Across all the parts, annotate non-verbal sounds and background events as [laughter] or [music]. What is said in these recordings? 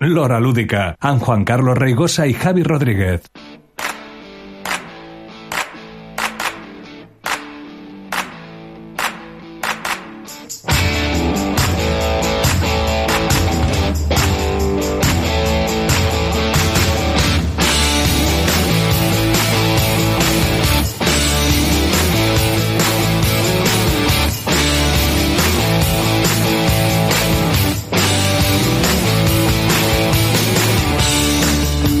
Lora Lúdica, and Juan Carlos Reigosa y Javi Rodríguez.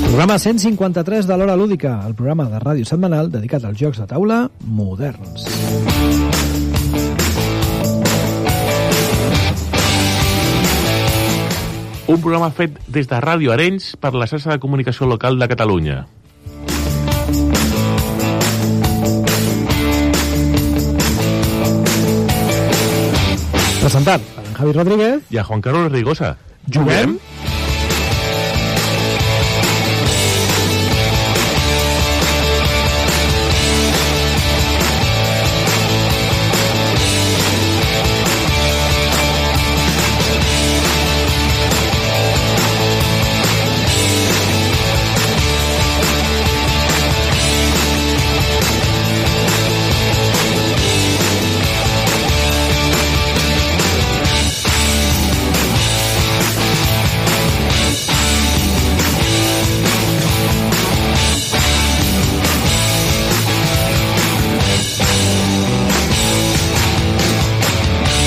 Programa 153 de l'Hora Lúdica, el programa de ràdio setmanal dedicat als jocs de taula moderns. Un programa fet des de Ràdio Arenys per la xarxa de comunicació local de Catalunya. Presentat per en Javi Rodríguez, I a Juan Carlos Rigosa. Juguem?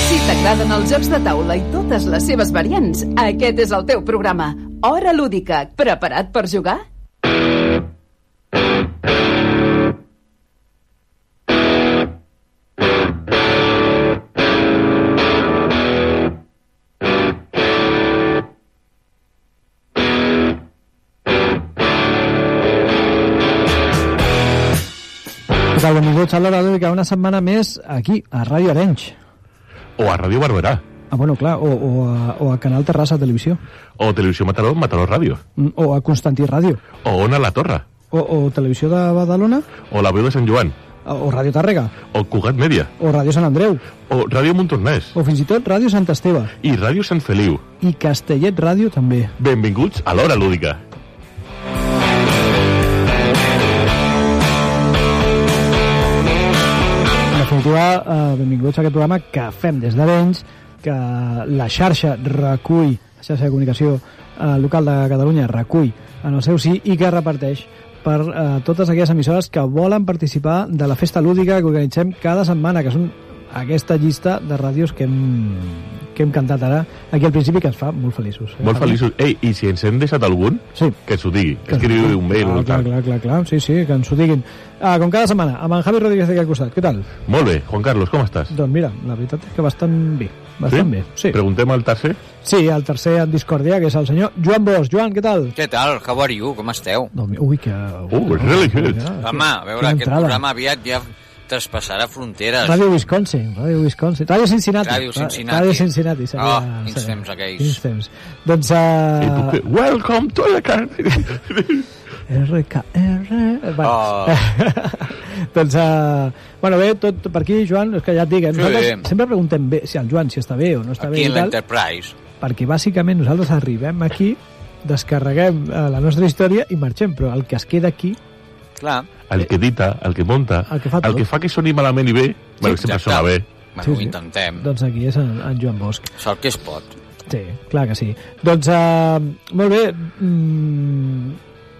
Si t'agraden els jocs de taula i totes les seves variants, aquest és el teu programa. Hora lúdica. Preparat per jugar? què tal? Benvinguts a l'Hora Lúdica una setmana més aquí, a Ràdio Arenys. O a Ràdio Barberà. Ah, bueno, clar, o, o, a, o a Canal Terrassa Televisió, O Televisió Mataró, Mataró Ràdio. Mm, o a Constantí Ràdio, O Ona La Torre. o, o Televisió de Badalona, O La Veu de Sant Joan. o o Ràdio Tàrrega, O Cugat Mèdia. o Ràdio Sant Andreu, O Ràdio Montornès. o fins i tot Ràdio Sant Esteve, I Ràdio Sant Feliu. i Castellet Ràdio també. Benvinguts a l'Hora Lúdica. En definitiva, eh, benvinguts a aquest programa que fem des d'Arenys, que la xarxa recull, la xarxa de comunicació eh, local de Catalunya recull en el seu sí i que reparteix per eh, totes aquelles emissores que volen participar de la festa lúdica que organitzem cada setmana, que són aquesta llista de ràdios que hem, que hem cantat ara aquí al principi, que ens fa molt feliços. eh, Molt Javi? feliços. Ei, i si ens hem deixat algun, Sí. que ens ho digui. Que ens ho Escriu diguin. un mail. Clar, o clar, tal. clar, clar, clar, sí, sí, que ens ho diguin. Ah, com cada setmana, amb en Javi Rodríguez aquí al costat. Què tal? Molt bé, Juan Carlos, com estàs? Doncs mira, la veritat és que bastant bé. Bastant bé, sí. Preguntem al tercer. Sí, el tercer en discòrdia, que és el senyor Joan Bosch. Joan, què tal? Què tal? How are you? Com esteu? Doncs, ui, que... Uh, really good. Oh, Home, a veure, Quina aquest entrada. programa aviat ja traspassarà fronteres. Ràdio Wisconsin, Ràdio Wisconsin, Ràdio Cincinnati. Ràdio Cincinnati. Ràdio Cincinnati, seria... Ah, quins seria- temps aquells. Quins temps. Doncs... I puc Uh, fer, Welcome to [laughs] the car... RKR... eh, Vale. Ah. [laughs] doncs, uh, bueno, bé, tot per aquí, Joan, és que ja et dic, eh, Sí. nosaltres sempre preguntem bé, si el Joan si està bé o no està Aquí bé en i tal. l'Enterprise. perquè bàsicament nosaltres arribem aquí, descarreguem eh, la nostra història i marxem, però el que es queda aquí, Clar. el que edita, el que monta, El que fa tot. el que fa que soni malament i bé, sí, bueno, sempre Exacte. sona bé. Sí, Bueno, sí, sí. ho Mm. intentem. doncs aquí és en, en Joan Bosch. Sort que es pot. Sí, clar que sí. Doncs, eh, molt bé, mm,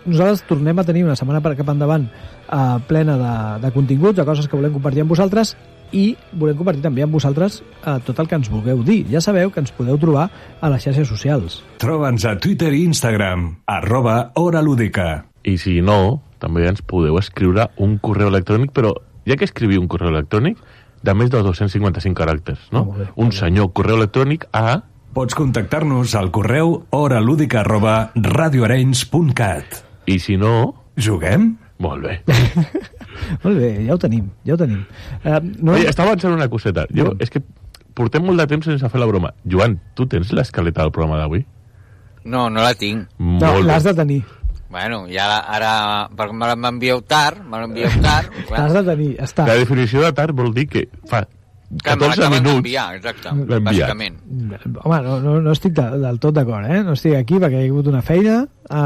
nosaltres tornem a tenir una setmana per cap endavant eh, plena de, de continguts, de coses que volem compartir amb vosaltres i volem compartir també amb vosaltres eh, tot el que ens vulgueu dir. Ja sabeu que ens podeu trobar a les xarxes socials. Troba'ns a Twitter i Instagram, arroba Hora Lúdica. I si no, també ens podeu escriure un correu electrònic, però ja que escriviu un correu electrònic, de més de 255 caràcters, no? Ah, molt bé, un senyor correu electrònic a... Pots contactar-nos al correu horalúdica arroba radioarenys.cat. I si no... Juguem? Molt bé. Molt bé, ja ho tenim, ja ho tenim. Eh, no, Oye, estava pensant una coseta. Jo, Digue'm. és que portem molt de temps sense fer la broma. Joan, tu tens l'escaleta del programa d'avui? No, no la tinc. no Molt bé. l'has de tenir. Bueno, i ara, ara perquè me la- [laughs] m'envieu tard, me l'envieu tard. L'has clar. de tenir, està. La definició de tard vol dir que fa Clar, me 14 l'acaben minuts. d'enviar, exacte, L'ha enviat. bàsicament. Home, no, no, no estic de, del tot d'acord, eh? No estic aquí perquè hi ha hagut una feina a,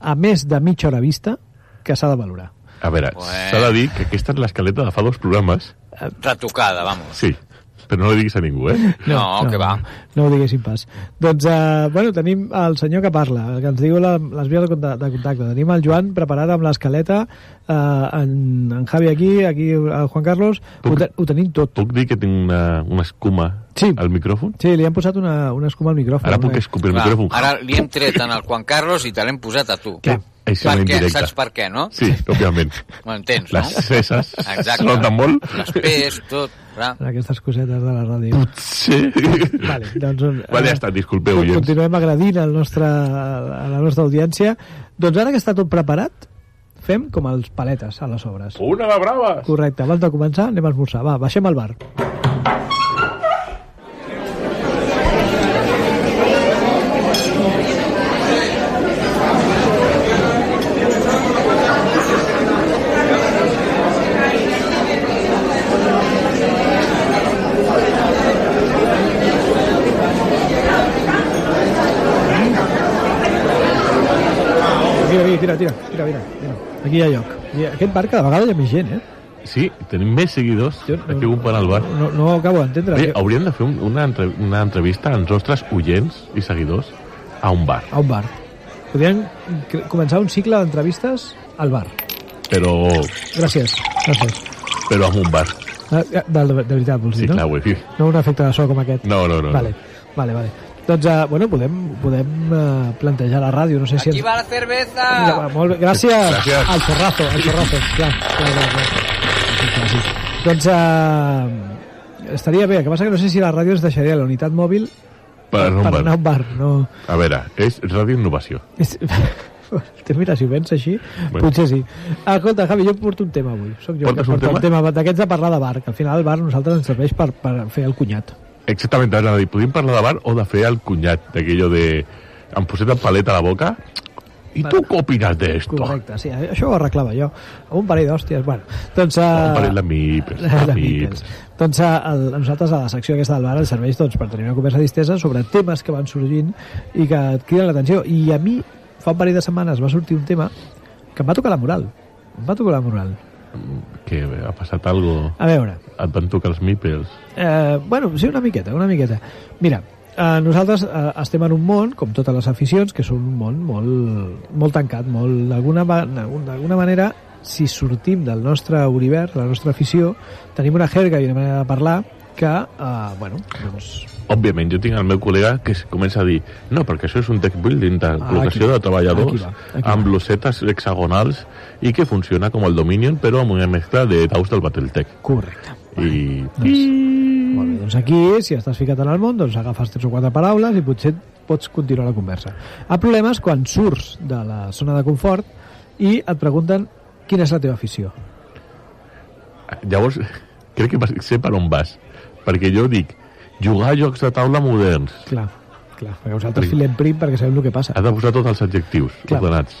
a més de mitja hora vista que s'ha de valorar. A veure, Bueno. s'ha de dir que aquesta és l'escaleta de fa dos programes. Retocada, vamos. Sí, però no ho diguis a ningú, eh? No, que va. No ho diguéssim pas. Doncs, eh, bueno, tenim el senyor que parla, el que ens diu la, les vies de, conta- de contacte. Tenim el Joan preparat amb l'escaleta, eh, en, en Javi aquí, aquí el Juan Carlos. Ho, Puc- te, ho tenim tot. Puc dir que tinc una, una escuma Sí. al micròfon? Sí, li han posat una, una escuma al micròfon. eh, Ara puc Una- escopir el Clar, micròfon. ara li hem tret en el Juan Carlos i te l'hem posat a tu. Clar. Així Per una què? indirecta. Saps per què, no? Sí, [laughs] òbviament. M'entens, no? Les ceses Exacte. noten molt. Les P's, tot, clar. Aquestes cosetes de la ràdio. Sí. [laughs] Vale, doncs, eh, Vale, ja està, disculpeu, con- oients. Continuem agradint al nostre, a la nostra audiència. Doncs ara que està tot preparat, fem com els paletes a les obres. Una de braves! Correcte, abans de començar anem a esmorzar. Va, baixem al bar. Mira, mira, tira, tira, tira, mira, mira. Aquí hi ha lloc. I aquest bar cada vegada hi ha més gent, eh? Sí, tenim més seguidors Jo que un al bar. No, no acabo d'entendre. Bé, hauríem de fer un, una, entre, una entrevista als nostres oients i seguidors a un bar. A un bar. Podríem cre- començar un cicle d'entrevistes al bar. Però, Gràcies, gràcies. però amb un bar. eh, Ah, ah, De, de, de veritat, vols Sí, dir, clar, no? ho he dit. No un efecte de so com aquest. No, no, no. Vale, vale, vale. Doncs, uh, bueno, podem, podem uh, plantejar la ràdio, no sé si... Aquí ens- va la cerveza! Mira, va, molt bé. Gràcies. Gràcies. Al chorrazo, al chorrazo. Clar, clar, clar, clar. Sí, clar, sí. Doncs eh, estaria bé, el que passa que no sé si la ràdio ens deixaria la unitat mòbil Per anar a un per bar. anar a un bar. No. A veure, és Ràdio Innovació. És- [laughs] Te mira, si ho penses així, Bueno. potser sí. Escolta, Javi, jo porto un tema avui. Soc jo Portes que un porto tema? un tema, d'aquests de parlar de bar, que al final el bar a nosaltres ens serveix per, per fer el cunyat. Exactament, ara dir, podíem parlar de bar o de fer el cunyat, d'aquello de... Em posem el palet a la boca i tu què opines d'esto? Correcte, sí, això ho arreglava jo. Amb un parell d'hòsties, bueno. Doncs, eh, Un parell de [laughs] mipes, La de Beatles. mipes. Doncs a, a, a nosaltres a la secció aquesta del bar ens serveix doncs, per tenir una conversa distesa sobre temes que van sorgint i que et criden l'atenció. I a mi fa un parell de setmanes va sortir un tema que em va tocar la moral. Em va tocar la moral. Que ha passat algo, A veure, et van tocar els mipes. Eh, bueno, sí, una miqueta, una miqueta. Mira, eh, nosaltres eh, estem en un món, com totes les aficions, que són un món molt, molt tancat, molt d'alguna va- d'alguna manera, si sortim del nostre univers, de la nostra afició, tenim una jerga i una manera de parlar que, eh, bueno, doncs... Òbviament, jo tinc el meu col·lega que es comença a dir no, perquè això és un tech building de col·locació Ah, aquí. de treballadors Aquí va, aquí va. amb losetes hexagonals i que funciona com el Dominion però amb una mescla de daus del Battletech. Correcte. I... Molt bé, doncs aquí, si estàs ficat en el món, doncs agafes tres o quatre paraules i potser pots continuar la conversa. El problema és quan surts de la zona de confort i et pregunten quina és la teva afició. Llavors, crec que vas- sé per on vas. Perquè jo dic, jugar a jocs de taula moderns. Clar, clar, perquè vosaltres filem prim perquè sabem el que passa. Has de posar tots els adjectius Clar. ordenats.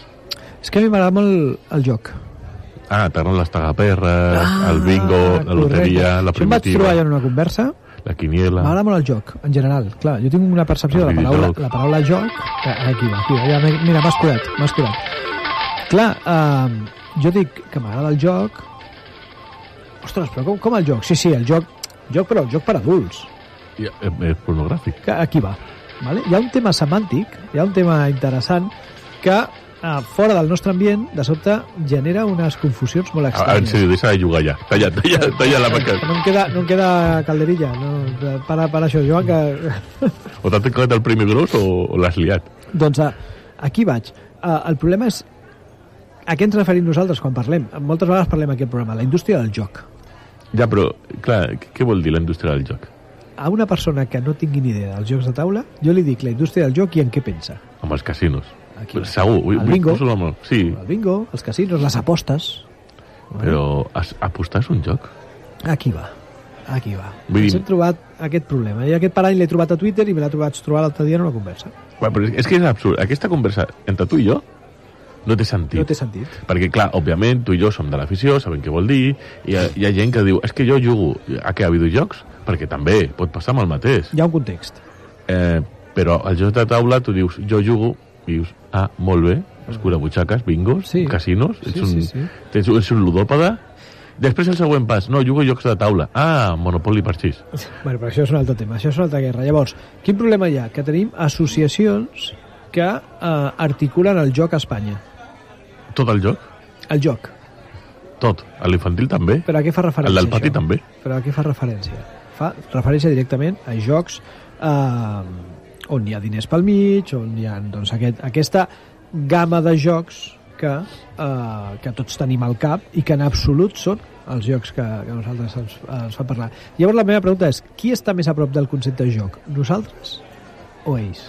És que a mi m'agrada molt el joc. Ah, t'agraden les tagaperres, el bingo, la loteria, la Ah, Això em vaig primitiva, trobar jo en una conversa, la quiniela... m'agrada molt el joc, en general. Clar, jo tinc una percepció de El la paraula, videojoc. la paraula joc... que- eh, Aquí va, aquí va, ja, m'he- mira, m'has curat, m'has curat. Clar, eh, jo dic que m'agrada el joc... Ostres, però com, com el joc? Sí, sí, el joc, joc, però el joc per adults. I, eh, eh, pornogràfic. que aquí va. Vale? Hi ha un tema semàntic, hi ha un tema interessant que eh, fora del nostre ambient, de sobte, genera unes confusions molt Ah, en estranyes. sèrio, deixa de jugar ja. Talla, talla, talla la marca. No em queda, no em queda calderilla. No, para, para això, Joan, que... [laughs] O t'ha tocat el premi gros o, o l'has liat. doncs eh, aquí vaig. Eh, el problema és a què ens referim nosaltres quan parlem? Moltes vegades parlem aquí al programa, la indústria del joc. Ja, però, clar, què- què vol dir la indústria del joc? A una persona que no tingui ni idea dels jocs de taula, jo li dic la indústria del joc i en què pensa. Amb els casinos. Aquí. Però Segur. Vull, El vull bingo. posar-ho amb el- Sí, El bingo, els casinos, les apostes... però as, apostar és un joc? Aquí va, aquí va. Vull dir- Ens hem trobat aquest problema. I aquest parany l'he trobat a Twitter i me l'ha trobat, vaig trobar l'altre dia en una conversa. Va, però és, és que és absurd. Aquesta conversa entre tu i jo no té sentit. No té sentit. Perquè, clar, òbviament, tu i jo som de l'afició, sabem què vol dir, i hi ha, hi ha gent que diu, és que jo jugo a què, a videojocs? Perquè també pot passar amb el mateix. Hi ha un context. Eh, però al joc de taula tu dius, jo jugo, i dius, ah, molt bé, escurabutxaques, bingos, Sí. sí. casinos, Sí, ets, un, sí, sí. Tens, ets un ludòpede. Després el següent pas, no, jugo a jocs de taula. Ah, Monopoli Parxís. Bueno, però això és un altre tema, això és una altra guerra. Llavors, quin problema hi ha? Que tenim associacions que eh, articulen el joc a Espanya. Tot el joc, El joc. tot. A l'infantil també. Però a què fa referència El del pati això? també. Però a què fa referència? Fa referència directament a jocs eh, on hi ha diners pel mig, on hi ha doncs, aquest, aquesta gamma de jocs que, eh, que tots tenim al cap i que en absolut són els jocs que, que a nosaltres ens, ens fa parlar. Llavors la meva pregunta és, qui està més a prop del concepte de joc? Nosaltres o ells?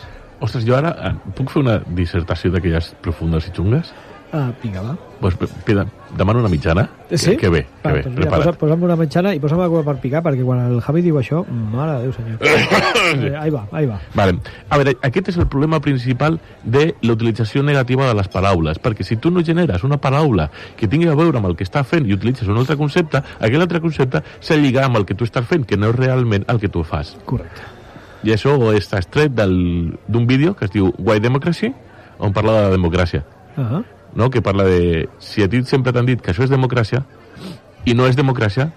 Ostres, jo ara eh, puc fer una dissertació d'aquelles profundes i xungues? Uh, vinga, va. Pues, pe- pida, demano una mitjana. Eh, Sí? Que, que bé, Va, que bé, doncs mira, posa, prepara't. posa'm una mitjana i posa'm alguna cosa per picar, perquè quan el Javi diu això, mare de Déu, [laughs] senyor. eh, ahí va, ahí va. Vale. A veure, aquest és el problema principal de la utilització negativa de les paraules, perquè si tu no generes una paraula que tingui a veure amb el que està fent i utilitzes un altre concepte, aquell altre concepte s'ha lligat amb el que tu estàs fent, que no és realment el que tu fas. Correcte. I això està extret del- d'un vídeo que es diu Why Democracy, on parla de la democràcia, Uh -huh. no? que parla de si a ti sempre t'han dit que això és democràcia i no és democràcia,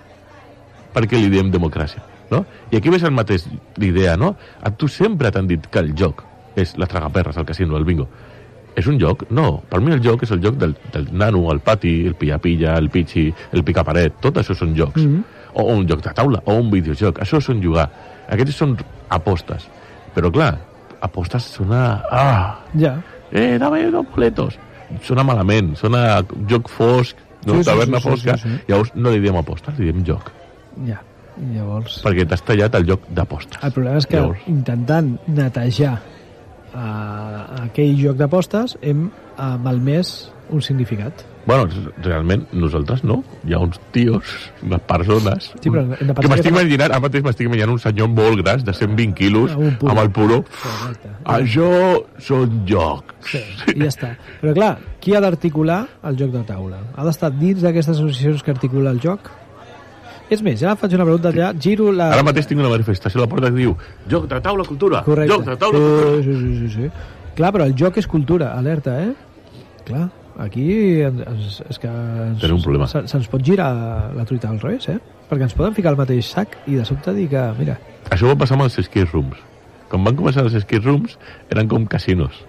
perquè li diem democràcia. No? I aquí ves el mateix l'idea, no? A tu sempre t'han dit que el joc és la tragaperres, el casino, el bingo. És un joc? No. Per mi el joc és el joc del, del nano, el pati, el pilla-pilla, el pitxi, el picaparet. Tot això són jocs. Mm -hmm. O un joc de taula, o un videojoc. Això són jugar. Aquests són apostes. Però clar, apostes sona... Ah, Ja. eh, dame dos boletos. Sona malament, sona joc fosc, no? Sí, sí, Sí, taverna sí, sí, fosca. sí, sí. Llavors no li diem apostes, li diem joc. Ja, llavors... Perquè t'has tallat el joc d'apostes. El problema és que Llavors. intentant netejar uh, aquell joc d'apostes hem uh, malmès un significat. Bueno, r- realment, nosaltres no. Hi ha uns tios, unes persones... Sí, però hem de pensar que m'estic que- imaginant, ara mateix m'estic imaginant un senyor molt gras, de 120 quilos, Ah, un puro. amb el puro. Correcte. Això són jocs. Sí, i ja està. Però clar, qui ha d'articular el joc de taula? Ha d'estar dins d'aquestes associacions que articula el joc? És més, ja faig una pregunta, ja giro la... Ara mateix tinc una manifestació a la porta que diu Joc de taula, cultura! Correcte. Joc de taula, cultura! sí, sí, sí, sí. Clar, però el joc és cultura, alerta, eh? Clar, aquí ens, és que... ens- Tenim un problema. Se- Se'ns pot girar la truita al revés, eh? Perquè ens poden ficar al mateix sac i de sobte dir que, mira, Això va passar amb els skate rooms. Quan van començar els skate rooms, eren com casinos.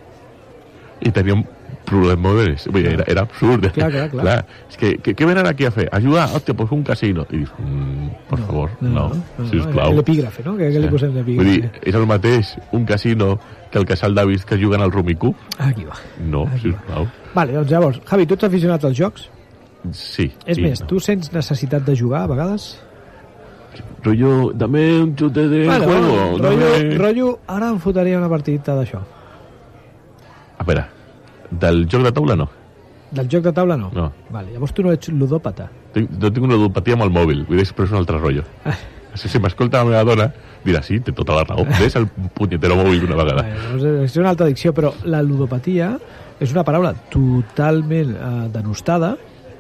I teníem problemes. Vull dir, era, era absurd. Clar, clar, [laughs] clar. és que, que, què venen aquí a fer? A jugar? Hòstia, pues un casino. I dius, mm, per no, favor, no, no, sisplau. L'epígrafe, no? Que, que li posem Vull dir, l'epígrafe. és el mateix un casino que el casal d'avis que juguen al Rumicu? Aquí va. No, Aquí va. sisplau. Vale, doncs llavors, Javi, tu ets aficionat als jocs? Sí. És i més, no. tu sents necessitat de jugar a vegades? Rollo, dame un chute de Vale, juego. vale, dame... rotllo, rotllo, ara em fotaria una partida d'això. A veure, del joc de taula no. Del joc de taula no? No. Vale, llavors tu no ets ludòpata. Tinc, no tinc una ludopatia amb el mòbil, vull dir, però és un altre rotllo. Ah. Si, si m'escolta la meva dona, dirà, sí, té tota la raó, ves el punyetero mòbil una vegada. Bueno, doncs és una altra addicció, però la ludopatia és una paraula totalment eh, denostada,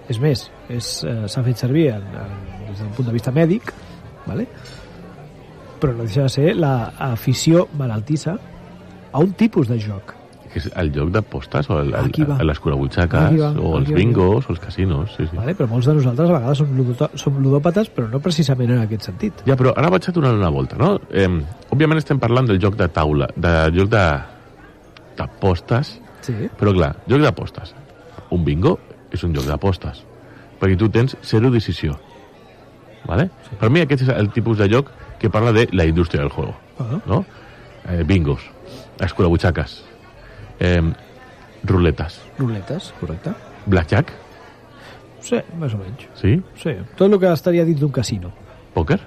és més, és, eh, s'ha fet servir en, en, des d'un punt de vista mèdic, vale? però no deixa de ser l'afició malaltissa a un tipus de joc. Que és el joc d'apostes o el, Aquí el, va. a les curabutxaques Aquí va, o els aquí va, bingos o els casinos. Sí, sí. Vale? Però molts de nosaltres a vegades som, ludota, som ludòpates, però no precisament en aquest sentit. Ja, però ara vaig a donar una volta, no? Eh, òbviament estem parlant del joc de taula, del joc de d'apostes, Sí. però clar, joc d'apostes. Un bingo és un joc d'apostes, perquè tu tens zero decisió. Vale? Per mi aquest és el tipus de joc que parla de la indústria del juego. Ah, no? Eh, bingos, escurabutxaques, eh, ruletes, ruletes, correcte. blackjack, Sí, més o menys. sí? Sí, tot el que estaria dins d'un casino. Pòquer?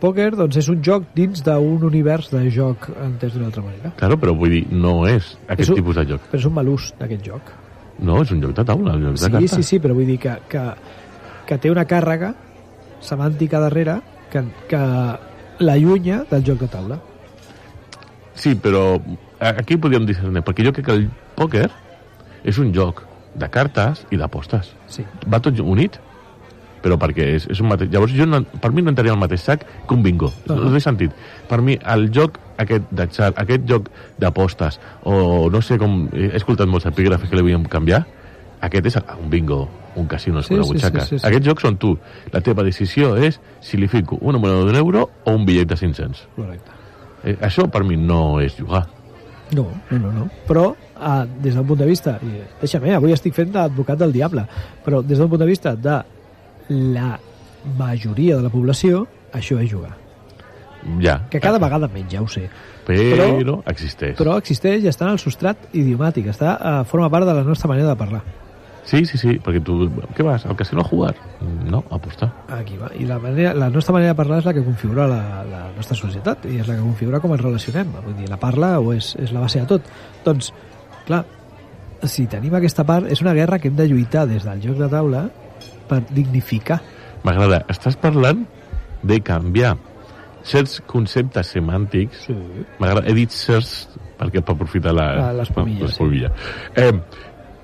Pòquer, doncs, és un joc dins d'un univers de joc entès d'una altra manera. Claro, però vull dir, no és aquest És un- tipus de joc. Però és un mal ús d'aquest joc. No, és un joc de taula, un joc de Sí, cartes. sí, sí, però vull dir que, que, que té una càrrega semàntica darrere que, que l'allunya del joc de taula. Sí, però a- aquí podríem discernir, perquè jo crec que el pòquer és un joc de cartes i d'apostes. Sí. Va tot unit, però perquè és, és un mateix... Llavors, jo no, per mi no entraria al mateix sac que un bingo. No, no té sentit. Per mi, el joc aquest de xar, aquest joc d'apostes, o no sé com... He escoltat molts epígrafs que li volíem canviar, aquest és un bingo, un casino, Sí, sí, una sí, butxaca. sí, sí, sí. Aquests jocs són tu. La teva decisió és si li fico una moneda d'un euro o un bitllet de 500. Correcte. Eh, això per mi no és jugar. No, no, no, no. Però eh, des del punt de vista, i deixa'm, eh, avui estic fent d'advocat del diable, però des del punt de vista de la majoria de la població, això és jugar. Ja. Que cada vegada menys, ja ho sé. Però, però però- existeix. Però existeix i està en el substrat idiomàtic, està, eh, forma part de la nostra manera de parlar. Sí, sí, sí, perquè tu... Què vas? Al casino a jugar? No, a apostar. Aquí va. I la, manera, la nostra manera de parlar és la que configura la, la nostra societat i és la que configura com ens relacionem. Vull dir, la parla o és, és la base de tot. Doncs, clar, si tenim aquesta part, és una guerra que hem de lluitar des del joc de taula per dignificar. M'agrada. Estàs parlant de canviar certs conceptes semàntics. Sí. M'agrada. He dit certs perquè per aprofitar la... Ah, l'espumilla, sí. l'espumilla. Eh,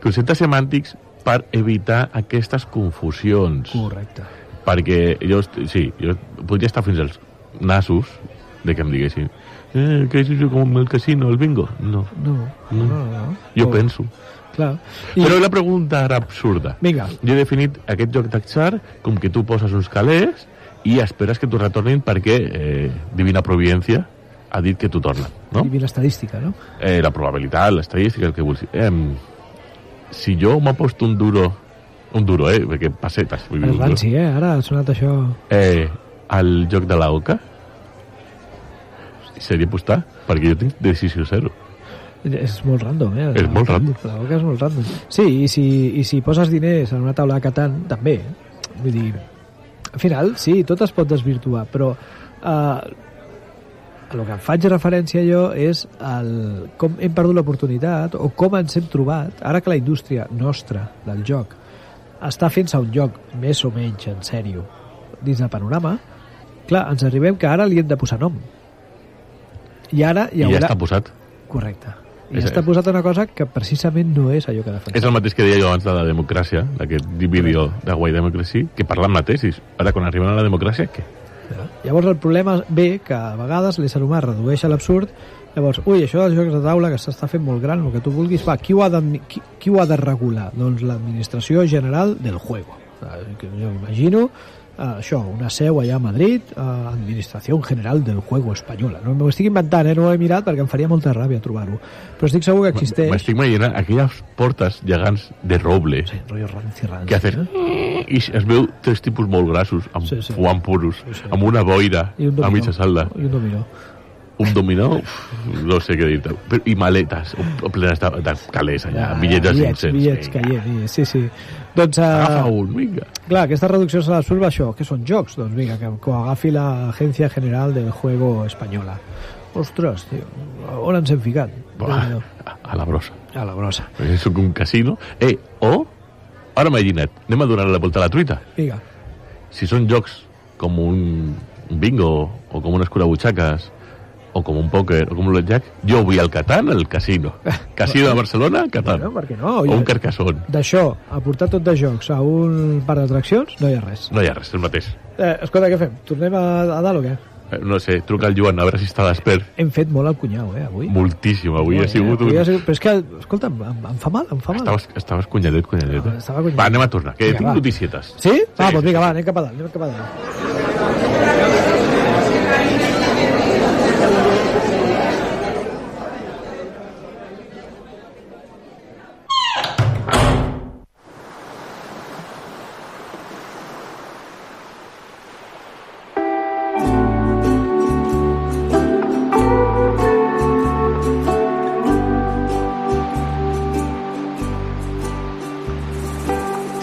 conceptes semàntics per evitar aquestes confusions. Correcte. perquè jo, est- sí, jo podria estar fins als nassos de que em diguessin eh, què és això com el casino, el bingo? No, No, no, no. no. Mm. jo Oh, penso. Clar. I, I... Però la pregunta era absurda. Vinga, Jo he definit aquest joc d'atzar com que tu poses uns calés i esperes que t'ho retornin perquè eh, Divina Providència ha dit que t'ho tornen, no? no? i l'estadística, no? Eh, la probabilitat, l'estadística, el que vulguis. Eh, si jo m'aposto un duro, un duro, eh, perquè pessetes, vull dir, El un duro, ranci, eh? Ara ha sonat això... eh, al joc de la Oca seria apostar, perquè jo tinc decisió zero. És molt random, eh? És molt random. La boca és molt random. Sí, i si, i si poses diners en una taula de Catan, també. Vull dir, al final, sí, tot es pot desvirtuar, però eh, el que em faig referència jo és el, com hem perdut l'oportunitat o com ens hem trobat, ara que la indústria nostra del joc està fent-se un joc més o menys en sèrio dins del panorama, clar, ens arribem que ara li hem de posar nom. I ara hi I ja haurà... està posat. Correcte. I És- està posat una cosa que precisament no és allò que És defensa. el mateix que deia jo abans de la democràcia, d'aquest vídeo de Why Democracy, que parla amb la tesis. Ara, quan arribem a la democràcia, què? Llavors el problema ve que a vegades l'ésser humà es redueix a l'absurd, llavors, ui, això dels jocs de taula que s'està fent molt gran, el que tu vulguis, va, qui ho ha de, qui, qui ho ha de regular? Doncs l'administració general del juego. Eh, que Jo imagino eh, això, una seu allà a Madrid, eh, Administració General del Juego Espanyola. No m'ho estic inventant, eh? no ho he mirat perquè em faria molta ràbia trobar-ho. Però estic segur que existeix... M'estic imaginant aquelles portes gegants de roble Sí, rotllo ranci, ranci. que hacen... eh? I es veu tres tipus molt grassos, amb Sí, sí, sí. sí. fuant puros, Sí, sí. amb una boira, I un dominó. a mitja salda. I un dominó. un dominó, uf, no sé què dir-te, Però- i maletes o- o plenes de, de calés allà, bitllets de 500. Bitllets vinga. caient, sí, sí. Doncs, Agafa uh, un, vinga. clar, aquesta reducció se l'absurd va això, que són jocs, doncs vinga, que, que ho agafi l'Agència General del Juego Espanyola. Ostres, tio, on ens hem ficat? Buah, Déu-n'hi-do. a- a la brossa. A la brossa. Eh, Sóc un casino. Eh, o, ara m'he anem a donar la volta a la truita. Vinga, Si són jocs com un bingo, o com unes curabutxaques, o com un pòquer, o com un blackjack, jo vull al Catan, al [laughs] casino. Casino de Barcelona, Catan. Bueno, per què no? O Jo- Ah. un carcassón. d'això, a portar tot de jocs a un parc d'atraccions, no hi ha res. No hi ha res, el mateix. Eh, escolta, què fem? Tornem a, a dalt o què? Eh, No sé, truca al Joan, a veure si està despert. Hem fet molt el cunyau, eh, avui. Moltíssim, avui ha Molt, eh? sigut un... Avui ha sigut- Però és que, escolta, em, em fa mal, em fa mal. Estaves, estaves cunyadet, cunyadet. No, Ah, estava cunyadet. Va, anem a tornar, que Vinga, Vinga, tinc va. noticietes. Sí? sí? Ah, doncs vinga, va, anem cap a dalt, anem cap a dalt.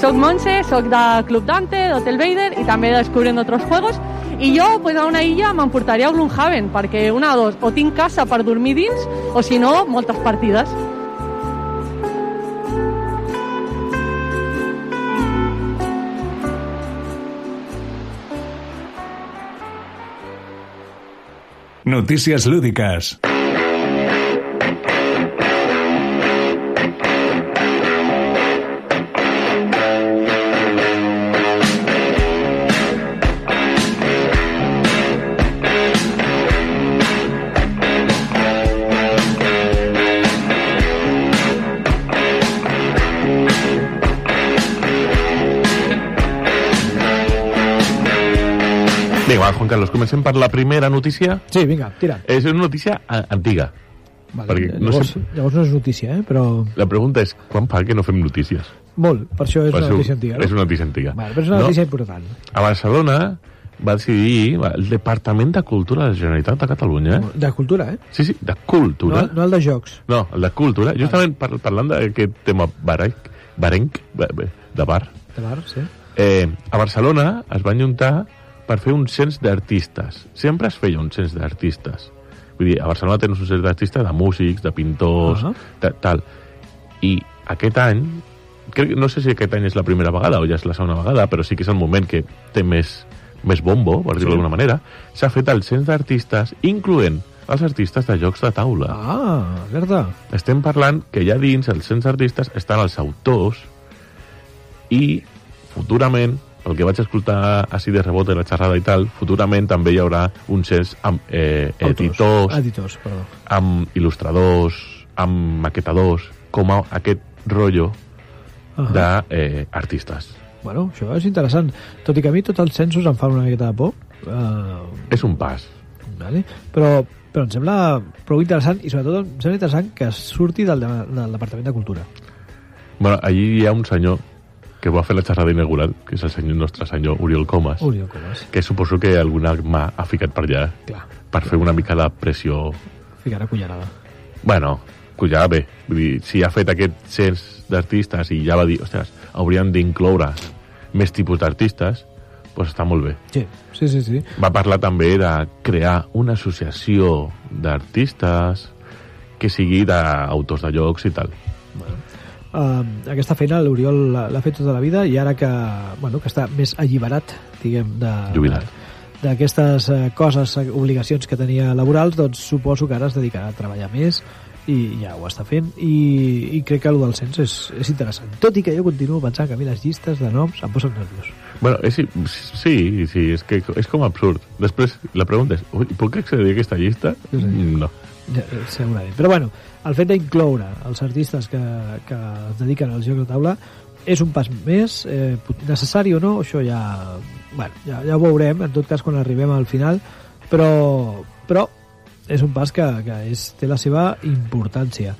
Soc Montse, soc de Club Dante, d'Hotel Vader i també descobrint d'altres juegos. I jo, pues, a una illa m'emportaria a Gloomhaven, perquè una o dos, o tinc casa per dormir dins, o si no, moltes partides. Noticias lúdicas. Juan Carlos, comencem per la primera notícia. Sí, vinga, tira. És una notícia a- antiga. Vale, perquè no llavors, sé- llavors no és notícia, eh? però La pregunta és, quan fa que no fem notícies? molt, per això és Va una ser un- notícia antiga. És una notícia antiga. Vale, però és una No? Eh? notícia important. A Barcelona va decidir el Departament de Cultura de la Generalitat de Catalunya, eh? De cultura, eh? Sí, sí, de No, cultura. no el de jocs. No, el de cultura. Justament par parlant d'aquest tema barenc, barenc, ba- ba- de bar, De bar, sí. eh, a Barcelona es van juntar per fer un cens d'artistes. Sempre es feia un cens d'artistes. Vull dir, a Barcelona tens un cens d'artistes de músics, de pintors, uh Ahà. -huh. de, tal. I aquest any, crec, no sé si aquest any és la primera vegada o ja és la segona vegada, però sí que és el moment que té més, més bombo, per dir-ho d'alguna manera, s'ha fet el cens d'artistes, incloent els artistes de jocs de taula. Ah, Berta. Estem parlant que ja dins els 100 artistes estan els autors i futurament, pel que vaig escoltar així de rebot de la xerrada i tal, futurament també hi haurà un cens amb eh, Autors. Ah, editors, Editors, perdó. amb il·lustradors, amb maquetadors, com a aquest rotllo Ah, de eh, artistes. Bueno, això és interessant. Tot i que a mi tots els censos em fan una miqueta de por, uh, És un pas. vale? però, però em sembla prou interessant i sobretot em sembla interessant que surti del, de- del Departament de Cultura. Bueno, allí hi ha un senyor que va fer la xerrada inaugural, que és el senyor, nostre senyor Oriol Comas, Oriol Comas, que suposo que alguna mà ha ficat per allà clar, per fer una mica de pressió ficarà cullerada. bueno, collada bé. Vull dir, si ha fet aquest cens d'artistes i ja va dir, ostres, haurien d'incloure més tipus d'artistes, doncs està molt bé. Sí, sí, sí. sí. Va parlar també de crear una associació d'artistes que sigui d'autors de llocs i tal. Uh, aquesta feina l'Oriol l'ha l'ha fet tota la vida i ara que, bueno, que està més alliberat, diguem, de... Jubilat. d'aquestes eh, coses, eh, obligacions que tenia laborals, doncs suposo que ara es dedicarà a treballar més i ja ho està fent i, i crec que el del cens és, és interessant. Tot i que jo continuo pensant que a mi les llistes de noms em posen nerviós. Bueno, és, sí, sí, és, que és com absurd. Després la pregunta és, "Ui, puc accedir a aquesta llista? Sí, sí. No. Ja, eh, segurament. Però bueno, el fet d'incloure els artistes que, que es dediquen als jocs de taula és un pas més, eh, pot- necessari o no, això ja, bueno, ja, ja ho veurem, en tot cas quan arribem al final, però, però és un pas que, que és, té la seva importància.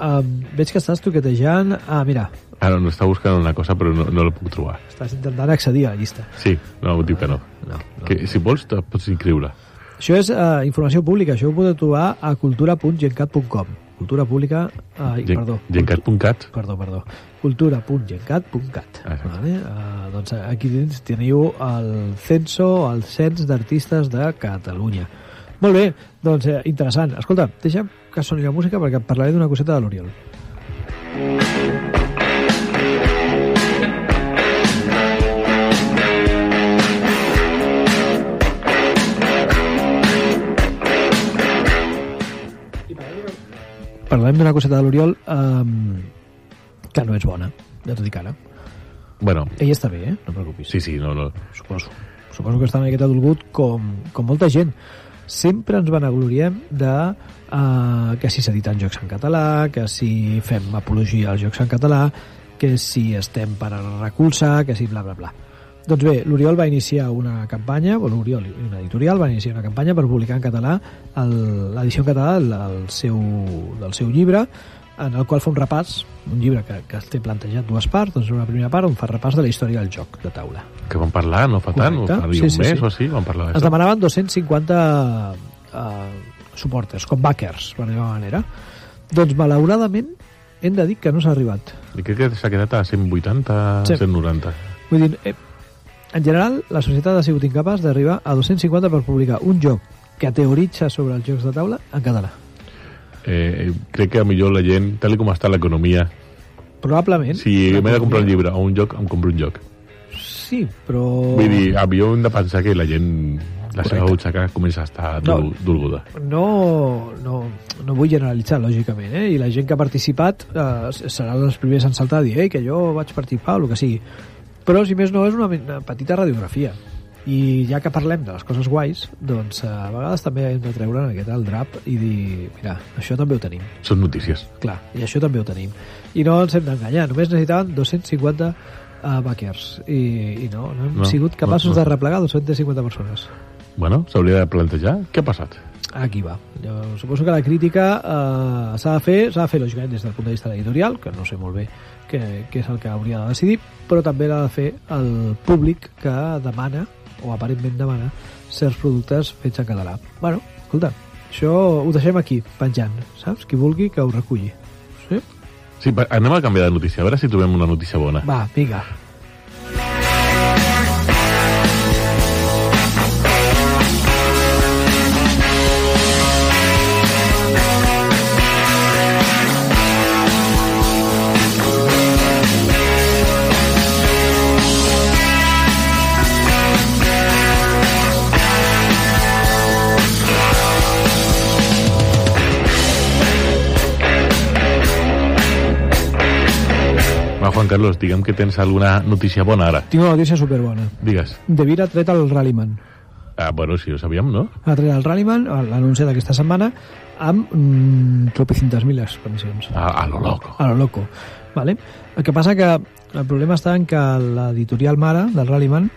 Um, veig que estàs toquetejant... Ah, mira, Ara no està buscant una cosa, però no, no la puc trobar. estàs intentant accedir a la llista. Sí, no, dic que no. No, no. Que, si vols, te pots inscriure. Això és uh, informació pública, això ho podeu trobar a cultura.gencat.com. Cultura pública... Uh, Gen- perdó. Gencat.cat. perdó, perdó, cultura.gencat.cat. Exacte. Vale? Uh, doncs aquí dins teniu el censo, el cens d'artistes de Catalunya. Molt bé, doncs eh, interessant. Escolta, deixa'm que soni la música perquè parlaré d'una coseta de l'Oriol. Parlarem d'una coseta de l'Oriol um, que no és bona, ja t'ho dic ara. Bueno, Ell està bé, eh? No et preocupis. sí, sí, no, no. suposo. Suposo que està una miqueta dolgut com, com molta gent. Sempre ens vanagloriem de uh, que si s'editen jocs en català, que si fem apologia als jocs en català, que si estem per recolzar, que si bla, bla, bla. Doncs bé, l'Oriol va iniciar una campanya, o l'Oriol, una editorial, va iniciar una campanya per publicar en català el- l'edició en català del- del seu, del seu llibre, en el qual fa un repàs, un llibre que, que té plantejat dues parts, doncs una primera part on fa repàs de la història del joc de taula. Que van parlar no fa tant, Correcte. o fa sí, un sí, mes sí. o així, van parlar Es d'això. demanaven 250 eh, suporters, com backers, per dir-ho manera. Doncs, malauradament, hem de dir que no s'ha arribat. I crec que s'ha quedat a 180, Sí. sí. 190. Vull dir, eh, en general, la societat ha sigut incapaç d'arribar a 250 per publicar un joc que teoritza sobre els jocs de taula en català. Eh, crec que millor la gent, tal i com està l'economia, Probablement... si m'he de comprar un llibre o un joc, em compro un joc. Sí, però... Vull dir, havia hem de pensar que la gent, la seva butxaca comença a estar dol, No. dolguda. no, no, no vull generalitzar, lògicament, eh? i la gent que ha participat eh, seran els primers en saltar a dir Ei, que jo vaig participar o el que sigui. Però, si més no, és una, una petita radiografia. I ja que parlem de les coses guais, doncs eh, a vegades també hem de treure una miqueta el drap i dir, mira, això també ho tenim. Són notícies. Clar, i això també ho tenim. I no ens hem d'enganyar, només necessitaven 250 uh, backers i, i no, no hem No, sigut no, capaços no. de replegar 250 persones. Bueno, s'hauria de plantejar què ha passat. Aquí va. Jo suposo que la crítica eh, s'ha de fer, s'ha de fer lògicament des del punt de vista de l'editorial, que no sé molt bé què, què és el que hauria de decidir, però també l'ha de fer el públic que demana, o aparentment demana, certs productes fets en català. Bueno, escolta, això ho deixem aquí, penjant, saps? Qui vulgui que ho reculli. Sí? Sí, va, anem a canviar de notícia, a veure si trobem una notícia bona. Va, vinga. Va, Juan Carlos, diguem que tens alguna notícia bona ara. Tinc una notícia superbona. Digues. De Vira ha tret el Rallyman. Ah, bueno, sí, ho sabíem, no? Ha tret el Rallyman, l'anunciat aquesta setmana, amb mm, tropecientas mil expansions. A, a lo loco. a lo loco. Vale? El que passa que el problema està en que l'editorial mare del Rallyman,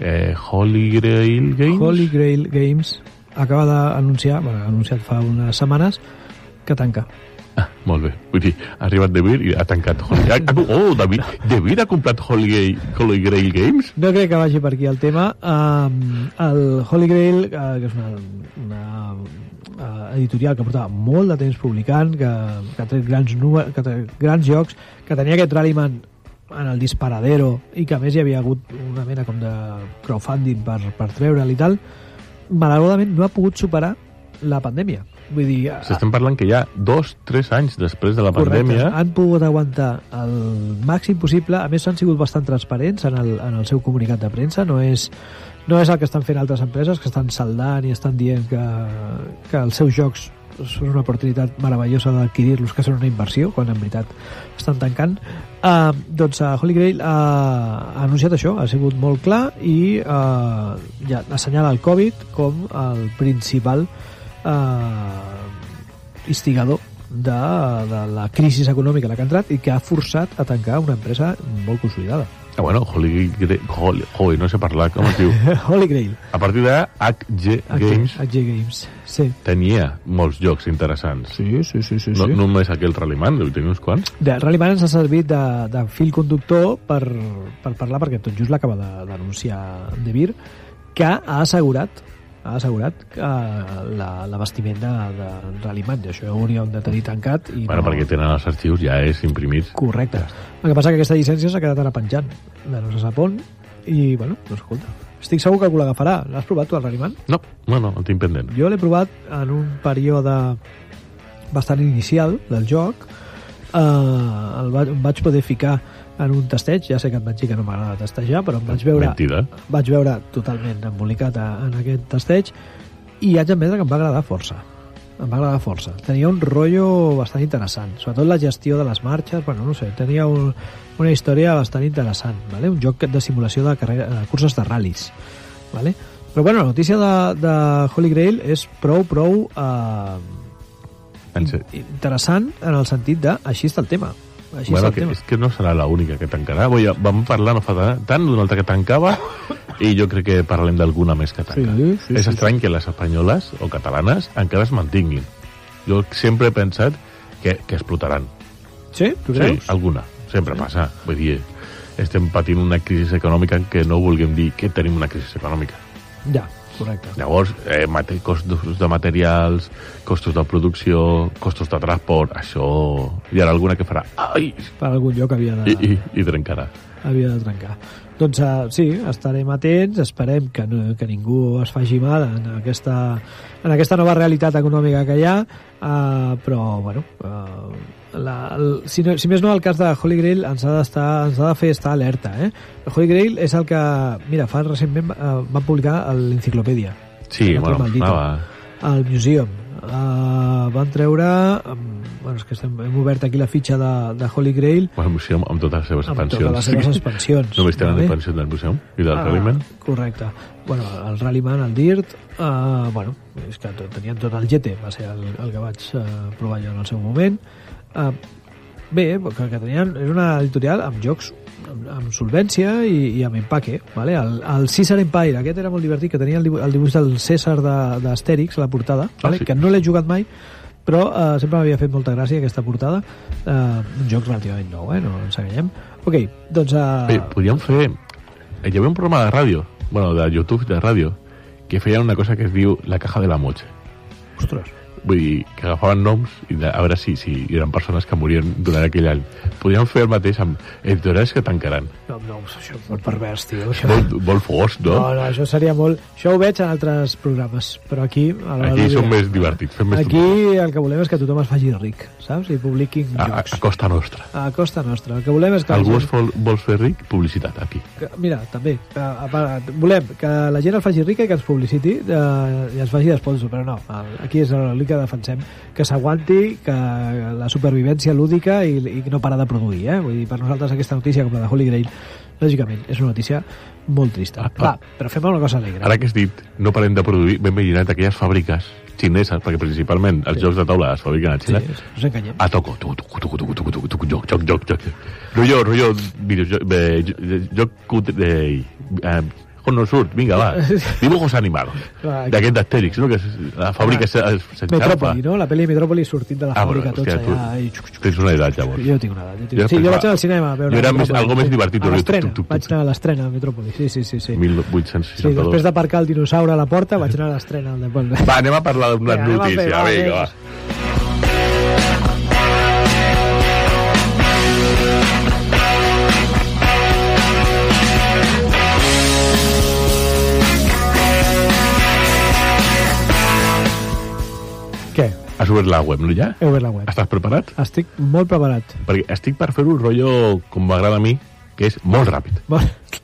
Eh, Holy Grail Games? Holy Grail Games, acaba d'anunciar, bueno, ha anunciat fa unes setmanes, que tanca. Ah, molt bé. Vull dir, ha arribat De Beer i ha tancat Holy Grail. Ah, Oh, David, De Beer ha comprat Holy Grail, Holy Grail Games? No crec que vagi per aquí el tema. Um, el Holy Grail, eh, que és una, una eh, editorial que portava molt de temps publicant, que, que ha tret grans, nu- que ha tret grans jocs, que tenia aquest Rallyman en el disparadero i que a més hi havia hagut una mena com de crowdfunding per, per treure'l i tal, malauradament no ha pogut superar la pandèmia. Vull dir, a- S'estem parlant que ja dos, tres anys després de la pandèmia... han pogut aguantar el màxim possible. A més, han sigut bastant transparents en el, en el seu comunicat de premsa. No és, no és el que estan fent altres empreses, que estan saldant i estan dient que, que els seus jocs són una oportunitat meravellosa d'adquirir-los, que són una inversió, quan en veritat estan tancant. Uh, doncs uh, Holy Grail uh, ha anunciat això, ha sigut molt clar i uh, ja assenyala el Covid com el principal uh, instigador de, de la crisi econòmica en la que ha entrat i que ha forçat a tancar una empresa molt consolidada. Ah, bueno, Holy Grail... Holy, Holy, no sé parlar, com es [laughs] diu? Holy Grail. A partir de HG HG Games HG Games. Sí. tenia molts jocs interessants. Sí, sí, sí, sí. No, només aquell Rallyman, deu tenir uns quants. De, Rallyman ens ha servit de, de fil conductor per, per parlar, perquè tot just l'acaba de- d'anunciar de, Vir, que ha assegurat ha assegurat eh, la- l'abastiment de, de Rallyman. I això ho hauríem de tenir tancat. I no... Bueno, perquè tenen els arxius, ja és imprimits. Correcte. El que passa que aquesta llicència s'ha quedat ara penjant de no se sap on i, bueno, doncs escolta, estic segur que algú l'agafarà. L'has provat tu, el Rallyman? No, no, no, el tinc pendent. Jo l'he provat en un període bastant inicial del joc. Uh, el va, em vaig poder ficar en un testeig, ja sé que et vaig dir que no m'agrada testejar, però em vaig veure, Mentida. vaig veure totalment embolicat a, en aquest testeig i haig d'admetre que em va agradar força em va agradar força. Tenia un rollo bastant interessant, sobretot la gestió de les marxes, bueno, no sé, tenia un, una història bastant interessant, vale? un joc de simulació de, carrera, de curses de ral·lis. Vale? Però bueno, la notícia de, de Holy Grail és prou, prou eh, En ser... interessant en el sentit de així està el tema. Així Bueno, està el que, tema. és que no serà l'única que tancarà. Vull, dir, vam parlar no fa tant tant d'una altra que tancava i jo crec que parlem d'alguna més que tanca. Sí, sí, és sí, estrany que les espanyoles o catalanes encara es mantinguin. Jo sempre he pensat que, que explotaran. Sí? Tu Sí, creus? alguna. Sempre passa. Vull dir, estem patint una crisi econòmica que no vulguem dir que tenim una crisi econòmica. Ja, correcte. Llavors, eh, mate- costos de materials, costos de producció, costos de transport, això... Hi haurà alguna que farà... Ai! Per algun lloc havia de... I, i, i trencarà. havia de trencar. Doncs uh, sí, estarem atents, esperem que, no, que ningú es faci mal en aquesta, en aquesta nova realitat econòmica que hi ha, uh, però, bueno, uh, la, el, si, no, si més no, el cas de Holy Grail ens ha, d'estar, ens ha de fer estar alerta. Eh? El Holy Grail és el que, mira, fa recentment uh, van publicar l'enciclopèdia, Sí, L'altre bueno, em maldito. sonava... al Museum. Uh, van treure... Um, bueno, és que estem, hem obert aquí la fitxa de, de Holy Grail Bueno, el museu amb totes les seves amb expansions. totes les seves expansions. [laughs] Només tenen vale? expansió del museu i del ah. Rallyman. Correcte. Bueno, el Rallyman, el Dirt, eh, bueno, és que tot- tenien tot el GT, va ser el, el que vaig eh, provar jo en el seu moment. Eh, bé, que, que tenien, és una editorial amb jocs amb- amb solvència i, i amb empaque. Vale? El, el César Empire, aquest era molt divertit, que tenia el, dibu el dibuix del César de- d'Astèrix, la portada, vale? Ah, sí. que no l'he jugat mai, però eh, sempre m'havia fet molta gràcia aquesta portada. Eh, un joc relativament nou, eh? no ens enganyem. Ok, doncs... Eh, Bé, podríem fer... eh, Hi havia un programa de ràdio, bueno, de YouTube, de ràdio, que feia una cosa que es diu La caja de la moche. ostres, Vull dir, que agafaven noms i de, a veure si, si eren persones que morien durant aquell any. Podríem fer el mateix amb editorials que tancaran. no, no, això és molt pervers, tio. Això... Molt, molt fogós, no? No, no, això seria molt... Això ho veig en altres programes, però aquí... A la Aquí ràdio- som més divertits, fem més... Aquí el que volem és que tothom es faci ric, saps? I publiquin A, a, jocs. a costa nostra. A, costa nostra. El que volem és que... la Algú es gent- vol, vol fer ric? Publicitat, aquí. que, mira, també, que, a, part, volem que la gent el faci rica i que ens publiciti eh, i ens faci d'esponsor, però no, el, aquí és l'únic que defensem, que s'aguanti, que la supervivència lúdica i, i no parar de produir, eh? Vull dir, per nosaltres aquesta notícia, com la de Holy Grail, lògicament, és una notícia molt trista. Ah, Va, ah. però fem una cosa alegre. Ara que has dit, no parem de produir, ben imaginat aquelles fàbriques xineses, perquè principalment els jocs de taula es fabriquen a Sí, Xina, no us enganyem. a toco, toco, toco, toco, toco, toco, toco, toco, joc, joc, joc, joc. Rullo, rullo, videojoc, eh, jo- joc cutre, eh, eh, on no surt, vinga, va. Dibujos animados. [laughs] Clar, D'aquest d'Astèrix, no? Que es- la fàbrica se- s'enxampa. Metròpoli, no? La pel·li Metròpoli sortint de la Ah, però, fàbrica, tots hòstia, tu allà... i xuc, xuc, tens una edat, llavors. Jo tinc una edat. Jo tinc... Jo sí, jo pensava- vaig anar al cinema a veure... jo era més- Metròpolis, algo més A divertit, no? l'estrena, Tup, tup, tup. vaig anar a l'estrena a Metròpolis, sí, sí, sí. sí. Sí, 1862. després d'aparcar el dinosaure a la porta vaig anar a l'estrena al [laughs] Depol. Va, anem a parlar d'una Vinga, anem a fer, notícia, va, vinga, vinga. va. Què? Has obert la web, no, ja? He obert la web. Estàs preparat? Estic molt preparat. Perquè estic per fer un rotllo com m'agrada a mi, que és molt ràpid. Molt...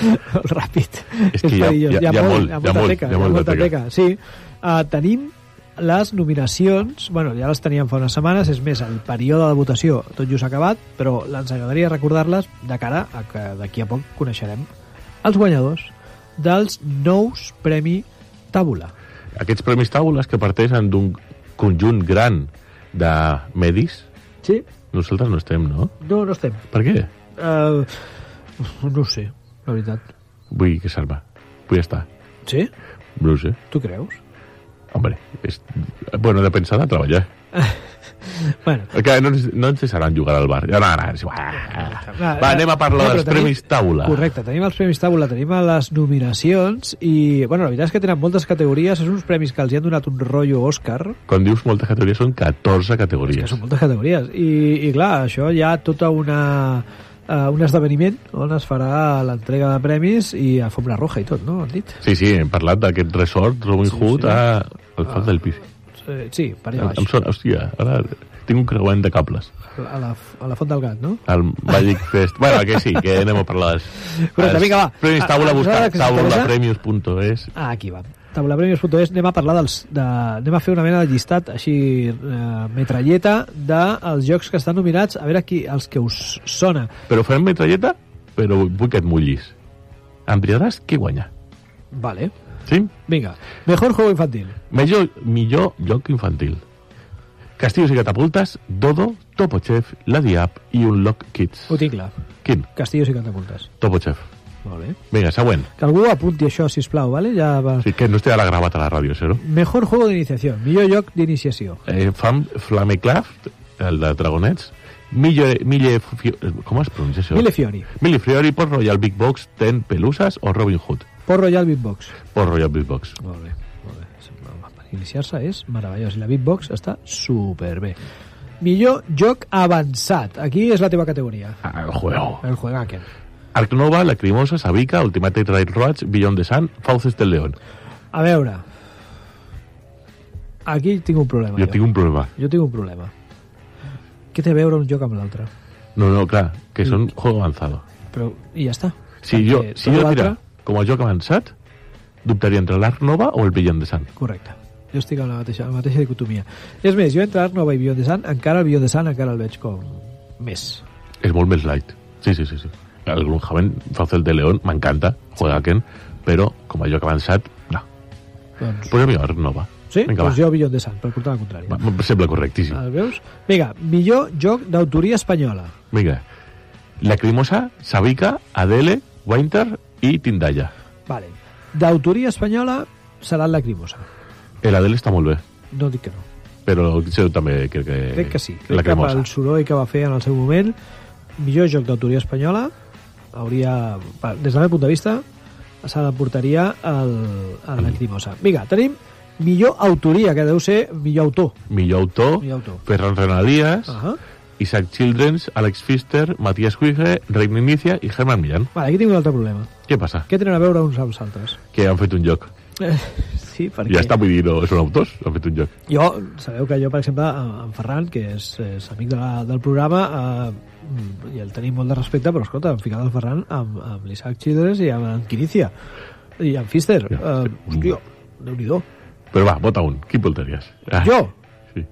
molt [laughs] ràpid. És que hi ha- perillós. hi ha- hi ha hi molt, hi ha ha molta molt, teca, hi ha molta teca. Sí, uh, tenim les nominacions, bueno, ja les teníem fa unes setmanes, és més, el període de votació tot just acabat, però ens agradaria recordar-les de cara a que d'aquí a poc coneixerem els guanyadors dels nous Premi Tàbula. Aquests premis taules que parteixen d'un conjunt gran de medis, Sí? nosaltres no estem, no? No, no estem. Per què? Uh, no ho sé, la veritat. Vull que se'n va. Vull estar. Sí? No ho sé. Tu creus? Hombre, és... Bueno, de pensar de treballar. Bueno, Que no, ens- no ens deixaran jugar al bar. No, no, no, és igual. Va, Va, anem a parlar però dels tenim- premis taula. Correcte, tenim els premis taula, tenim a les nominacions i, bueno, la veritat és que tenen moltes categories, són uns premis que els hi han donat un rotllo Òscar, Quan dius moltes categories, són 14 que categories. són moltes categories, i, i clar, això hi ha tota una... Uh, un esdeveniment on es farà l'entrega de premis i alfombra roja i tot, no? Han dit? Sí, sí, hem parlat d'aquest resort Robin Sí, Hood sí. a... al cap del pis. Eh, Sí, per allà Em, em baix, sona, hòstia, ara tinc un creuant de cables. a la, a la Font del Gat, no? El Magic [laughs] Fest. bueno, que sí, que anem a parlar dels... Correcte, dels vinga, va. Premis Ah, taula, ah, buscar nosaltres que ens interessa? taulapremios.es. Ah, aquí va. Taulapremios.es anem a parlar dels... De, anem a fer una mena de llistat així eh, metralleta dels jocs que estan nominats, a veure qui, els que us sona. Però farem metralleta, però vull que et mullis. Em triaràs qui guanya. Vale. Sí? Vinga, mejor juego infantil. Millor, millor lloc infantil. Castillos i catapultes, Dodo, Topo Chef, La Diab i un Lock Kids. Ho tinc clar. Quin? Castillos i catapultes. Topo Chef. Molt bé. Vinga, següent. Que algú apunti això, si plau, vale? Ja va. Sí, que no estic ara gravat a la ràdio, zero. Mejor juego d'iniciació, millor lloc d'iniciació. Eh, fam, Flamecraft, el de Dragonets, Mille, Mille, Fio- com es pronuncia això? Mille Fiori, Mille Fiori, Port Royal Big Box, Ten Pelusas o Robin Hood. Port Royal Beatbox. Port Royal Big Box. Molt bé, molt bé. Per iniciar-se és meravellós. I la beatbox està superbé. Millor joc avançat. Aquí és la teva categoría. Ah, el juego. El juegaken. Arc Nova, Lacrimosa, Sabica, Ultimate Raid Roach, Beyond the Sun, Fauces del León. A veure... Aquí tinc un problema. Jo tinc un problema. jo tinc un problema. Què té a veure un joc amb l'altre? No, no, clar, que són juego avanzado. Però, I ja està. Si Perquè jo, si tot jo l'altre- tira com a joc avançat, dubtaria entre l'Arc Nova o el Beyond the Sun. Correcte. Jo estic amb la mateixa, la mateixa dicotomia. És més, jo entre Art Nova i Beyond the Sun, encara el Beyond the Sun encara el veig com més. És molt més light. Sí, sí, sí. sí. El Gloomhaven, Fauces del León, m'encanta, juegaken, però com a joc avançat, no. Pues Doncs, Posem Arc Nova. sí? Pues Ah. Vinga, doncs va. jo Beyond the Sun, per portar la contrària. va. Em sembla correctíssim. El veus? Vinga, millor joc d'autoria espanyola. Vinga. Lacrimosa, Sabica, Adele, Winter i Tindalla. Vale. D'autoria espanyola serà Lacrimosa. El Adele està molt bé, No dic que no. però jo també crec que... Crec que sí. Crec que Lacrimosa. pel soroll que va fer en el seu moment, millor joc d'autoria espanyola hauria, per- des del meu punt de vista, se la portaria al, a la Lacrimosa. Vinga, tenim millor autoria, que deu ser millor autor. Millor autor, Millor autor. Ferran Renadías, Uh -huh. Isaac Childrens, Alex Pfister, Matías Cuige, Reina Inicia i Herman Millán. Vale, aquí tinc un altre problema. Què passa? Què tenen a veure uns amb els altres? Que han fet un joc. Sí, perquè... Ja està, vull dir, no, són autors, han fet un joc. Jo, sabeu que jo, per exemple, en en Ferran, que és, és amic de la, del programa, eh, mm, i el tenim molt de respecte, però escolta, hem ficat el Ferran amb, amb l'Isaac Childress i amb en Quinícia, i en Fister. Ja, eh, sí. hòstia, déu-n'hi-do. Però va, vota un. Qui portaries? Ah, Jo, Sí.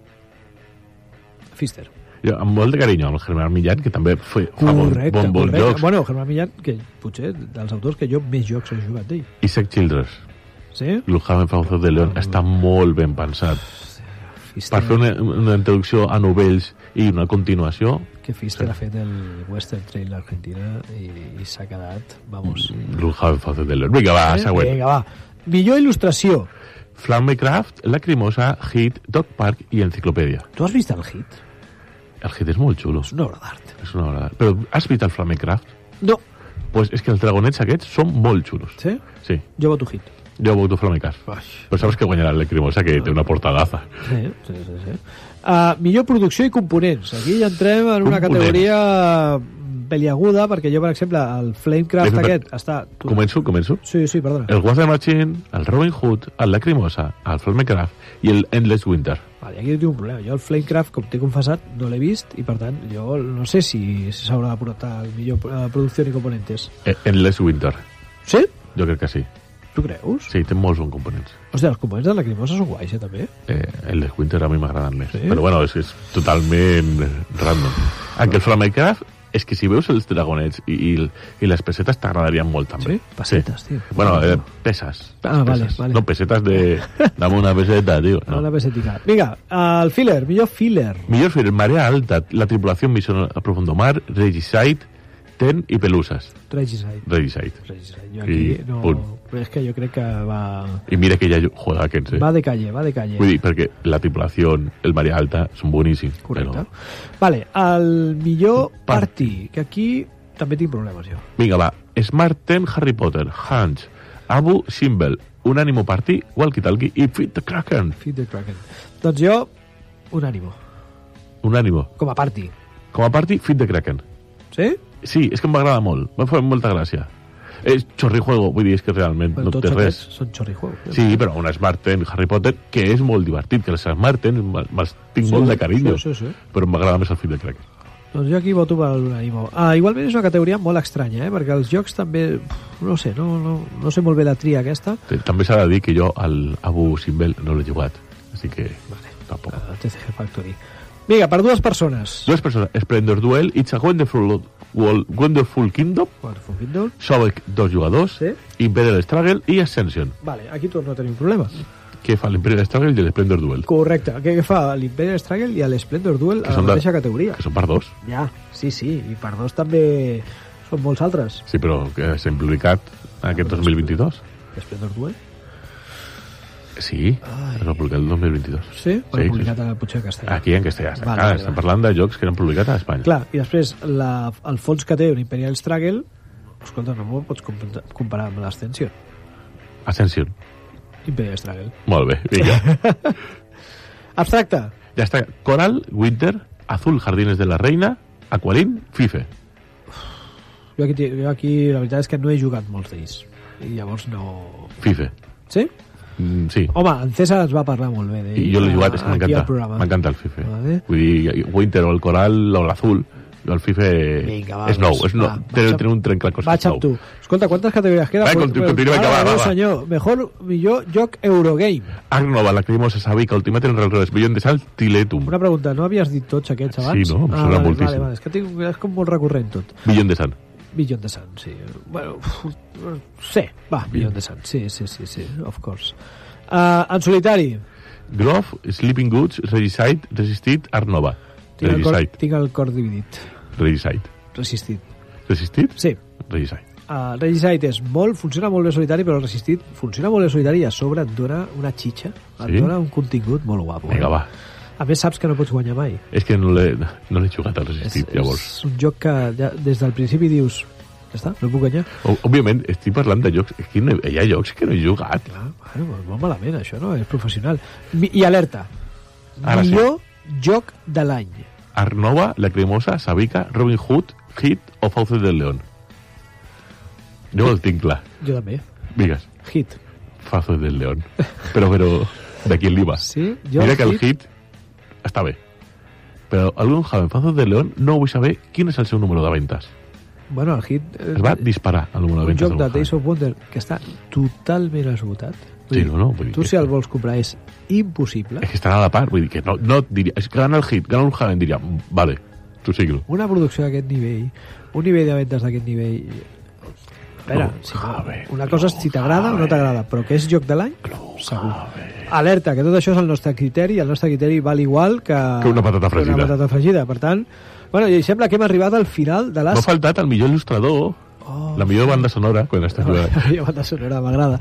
Fister. Jo, amb molt de carinyo, amb el Germán Millán, que també fa, fa bon, Correcte, bon, bon correcte. jocs. Bueno, Germán Millán, que potser dels autors que jo més jocs he jugat d'ell. Isaac Childrens, Sí? Lujaven Fauzo de León, està molt ben pensat. Fister, Per fer una, una introducció a novells i una continuació, Que Fister ha fet el Western Trail d'Argentina i, i s'ha quedat, vamos... Lujaven Fauzo de León. Vinga, va, següent. Vinga, va. Millor il·lustració. Flamecraft, Lacrimosa, Hit, Dog Park i Enciclopèdia. Tu has vist el hit? El Hit és molt xulo. És una obra d'art. És una obra. d'art. Però has vist el Flamecraft? No. Pues és que els dragonets aquests són molt xulos. Sí? Sí, Jo voto hit. jo voto Flamecraft. Però saps Pues que guanyarà el Lacrimosa, que té una portadaza. Sí, sí, sí. sí. Uh, millor producció i components. Aquí ja entrem en una Components. categoria mm, peliaguda, perquè jo, per exemple, el Flamecraft Espera, aquest està... tu- Començo, començo. Sí, sí, perdona. El Water Machine, el Robin Hood, el Lacrimosa, el Flamecraft i el Endless Winter. Vale, aquí tinc un problema. Jo el Flamecraft, com t'he confessat, no l'he vist i, per tant, jo no sé si s'haurà de portar el millor eh, producció i components. Eh, Endless Winter. Sí? Jo crec que sí. Tu creus? Sí, té molts bons components. Hòstia, els components de la Crimosa són guais, eh, també? Eh, Endless Winter a mi m'agraden més. Sí? Però bueno, és, és totalment random. En què el Flamecraft és que si veus els dragonets i, i, i les pessetes t'agradarien molt també. Sí? Pessetes, tio. Bueno, eh, peses. Ah, vale, Peses. vale. No, pessetes de... Dame una peseta, tio. No. Una No. pesetica. Vinga, el filler, millor filler. Millor fer Marea Alta, La Tripulació, Misión a Profundo Mar, Regicide, Ten i Pelusas. Regicide. Regicide. Regicide. Jo aquí I no... punt. Però és que jo crec que va... I mira que ja... jo- Joder, aquests, eh? Va de calle, va de calle. Vull dir, perquè La Tripulació, El Marea Alta, són boníssims. Correcte. Vale, el millor party, que aquí també tinc problemes jo. Vinga, va. Smart Ten, Harry Potter, Hans, Abu Simbel, Un Animo Party, Walkie Talkie i Fit the Kraken. Fit the Kraken. Doncs jo, un ànimo, Un Animo. com a party. Com a party, Fit the Kraken. Sí? Sí, és que em va agradar molt. M'ha fet molta gràcia. És xorrijuego, vull dir, és que realment Bueno, no tots té res. aquests són eh? xorrijuegos. Sí, però un Smart Ten, Harry Potter, que és molt divertit, que els Smart Ten me- me'ls tinc Sí, molt de carinyo, sí, sí, sí. però m'agrada més el Fit the Kraken. Doncs jo aquí voto per l'Unanimo. Ah, igualment és una categoria molt estranya, eh? perquè els jocs també... pf, No sé, no, no, no sé molt bé la tria aquesta. T- També s'ha de dir que jo al Abu Simbel no l'he jugat, així que tampoc. Ah, TCG Factory. Vinga, per dues persones. Dues persones, Splendor Duel, It's a Wonderful, World- Wonderful Kingdom, Wonderful Kindle. Sobek, dos jugadors, Sí. Imperial Struggle i Ascension. Vale, aquí torno a tenir un problema. Què fa l'Imperial Struggle i l'Splendor Duel? Correcte, què, què fa l'Imperial Struggle i l'Splendor Duel Que a la són de- mateixa categoria? Que són per dos. Ja, sí, sí, i per dos també són molts altres. Sí, però que s'ha implicat Ah, aquest 2022. L'Splendor Duel? Sí, es va publicar el 2022. Sí, sí, Sí, sí, publicat a Puig de Castellà. Aquí en castellà. Vale, Vale, vale, vale. estem parlant de jocs que eren publicats a Espanya. Clar, i després la, el fons que té un Imperial Struggle, escolta, no ho pots compar- comparar amb l'Ascension. Ascension. Imperial Struggle. Molt bé, [laughs] vinga. Abstracte. ja està. Coral, Winter, Azul, Jardines de la Reina, Aqualín, Fife. Jo aquí, ti- jo aquí la veritat és que no he jugat molts d'ells. I llavors no... Fife. Sí? Mm, sí. Home, en César ens va parlar molt bé d'ell. I jo l'he jugat, és que Oh, Aquí al m'encanta. programa. M'encanta el Fife. Vale. Vull dir, Winter o el Coral o l'Azul, el Fife Vinga, va, és nou, doncs, és nou. va, Té, vaig amb- té un trencacoses Vaig amb nou. tu. Escolta, quantes categories queda? Va, Pues- continu- pues, continua, ara, que va, va, no, va. senyor. Mejor, millor joc Eurogame. Agnova, Lacrimosa, Sabica, Ultimate, Real Revés, Billion de Sal, Tiletum. Una pregunta, no havies dit tots aquests abans? Ah, Sí, no? Em sona vale, moltíssim. Vale, vale, és que tinc, és com molt recurrent tot. Billion de Sal. Billion de Sun, sí. Bueno, uf, no sé. Va, Billion de Sun, sí, sí, sí, sí, of course. Uh, en solitari. Grove, Sleeping Goods, Regicide, Resistit, Arnova. Tinc el, cor, Regicide. tinc el cor dividit. Regicide. Resistit. Resistit? Sí. Regisai. Uh, Regicide és molt, funciona molt bé solitari, però resistit, funciona molt bé solitari i a sobre et dona una xitxa, et Sí? dona un contingut molt guapo. eh? Vinga, va. A més, saps que no pots guanyar mai. És que no l'he no l'he jugat al resistit, és, llavors. és un joc que ja, des del principi dius, ja està, no puc guanyar. O- Òbviament, estic parlant de jocs... Aquí no, hi ha jocs que no he jugat. Ah, bueno, doncs molt malament, això, no? És professional. Mi- I alerta. Ara sí. Millor joc de l'any. Arnova, La Cremosa, Sabica, Robin Hood, Hit o Fauces del León. Jo el tinc clar. Jo també. Digues, Hit. Fauces del León. Però, però, de qui li va? Sí? Jo Mira que el hit està bé. Però algun joven Fauces del León no vull saber quin és el seu número de ventes. Bueno, el hit... eh, Es va disparar el número de un ventes. joc de Days of Wonder que està totalment esgotat. Vull Sí, dir, no, no, vull dir tu que- si el vols comprar és impossible. És que estan a la part, vull dir que no, no et diria... És que gana el hit, gana un joven, diria, "Mm, vale, tu sigue-lo. Una producció d'aquest nivell, un nivell de vendes d'aquest nivell... A veure, No, si no- Javi, una cosa és si t'agrada o no t'agrada, però que és joc de l'any, segur. Alerta, que tot això és el nostre criteri, i el nostre criteri val igual que... Que una patata que fregida. Una patata fregida, per tant... Bueno, i sembla que hem arribat al final de No ha [laughs] les... faltat el millor il·lustrador, Oh. la millor banda sonora, quan estàs jugant. Ja banda sonora, m'agrada.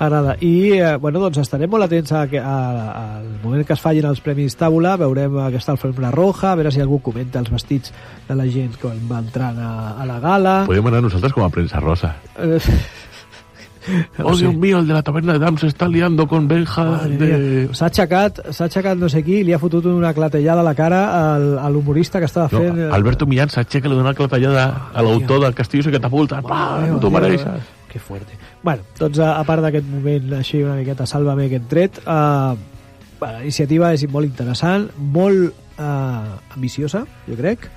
M'agrada. I, eh, bueno, doncs estarem molt atents a, que- a, al moment que es fallin els Premis Taula, veurem eh, que està el Fembra Roja, a veure si algú comenta els vestits de la gent quan va entrant a, a la gala. Podríem anar nosaltres com a premsa rosa. Eh, Oh, Dios mío, el de la taverna de Dam se está liando con Benja madre de... mía. S'ha aixecat, s'ha aixecat no sé qui i li ha fotut una clatellada a la cara al, a l'humorista que estava No, fent... eh, Alberto Millán s'aixeca, li dona la clatellada a l'autor del Castillo i catapulta. Pa, Ah, Déu, no t'ho Déu, mereixes. Que fuerte. Bueno, doncs a, a part d'aquest moment així una miqueta sàlvame que hem tret, eh, bueno, la iniciativa és molt interessant, molt eh, ambiciosa, jo crec.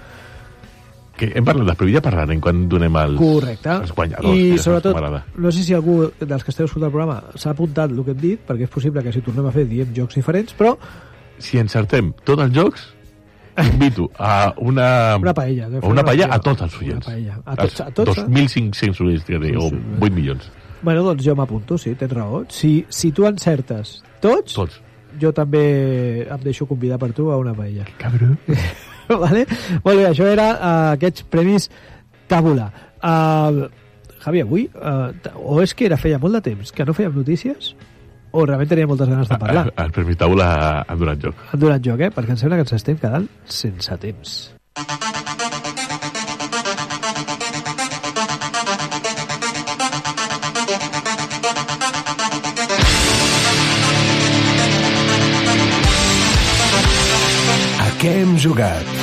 Que hem parlat després, ja parlarem quan donem els, Correcte. els guanyadors. que I és el que sobretot, m'agrada. no sé si algú dels que esteu escoltant el programa s'ha apuntat el que hem dit, perquè és possible que si tornem a fer diem jocs diferents, però Si encertem tots els jocs, [laughs] invito a una... una paella. o una paella a tots els oients. Una paella. A tots, a Els tots, eh? 2.500 oients, que té, o Sí, sí. 8 milions. Bueno, doncs jo m'apunto, sí, tens raó. Si, si tu encertes tots, Tots. jo també em deixo convidar per tu a una paella. [laughs] Cabrón. vale? Molt bé, això era uh, aquests premis Tàbula. Uh, Javi, avui, uh, o és que era feia molt de temps que no fèiem notícies, o realment tenia moltes ganes de parlar. El Premi Taula ha donat joc. Han donat joc, eh? Perquè em sembla que ens estem quedant sense temps. A què hem jugat?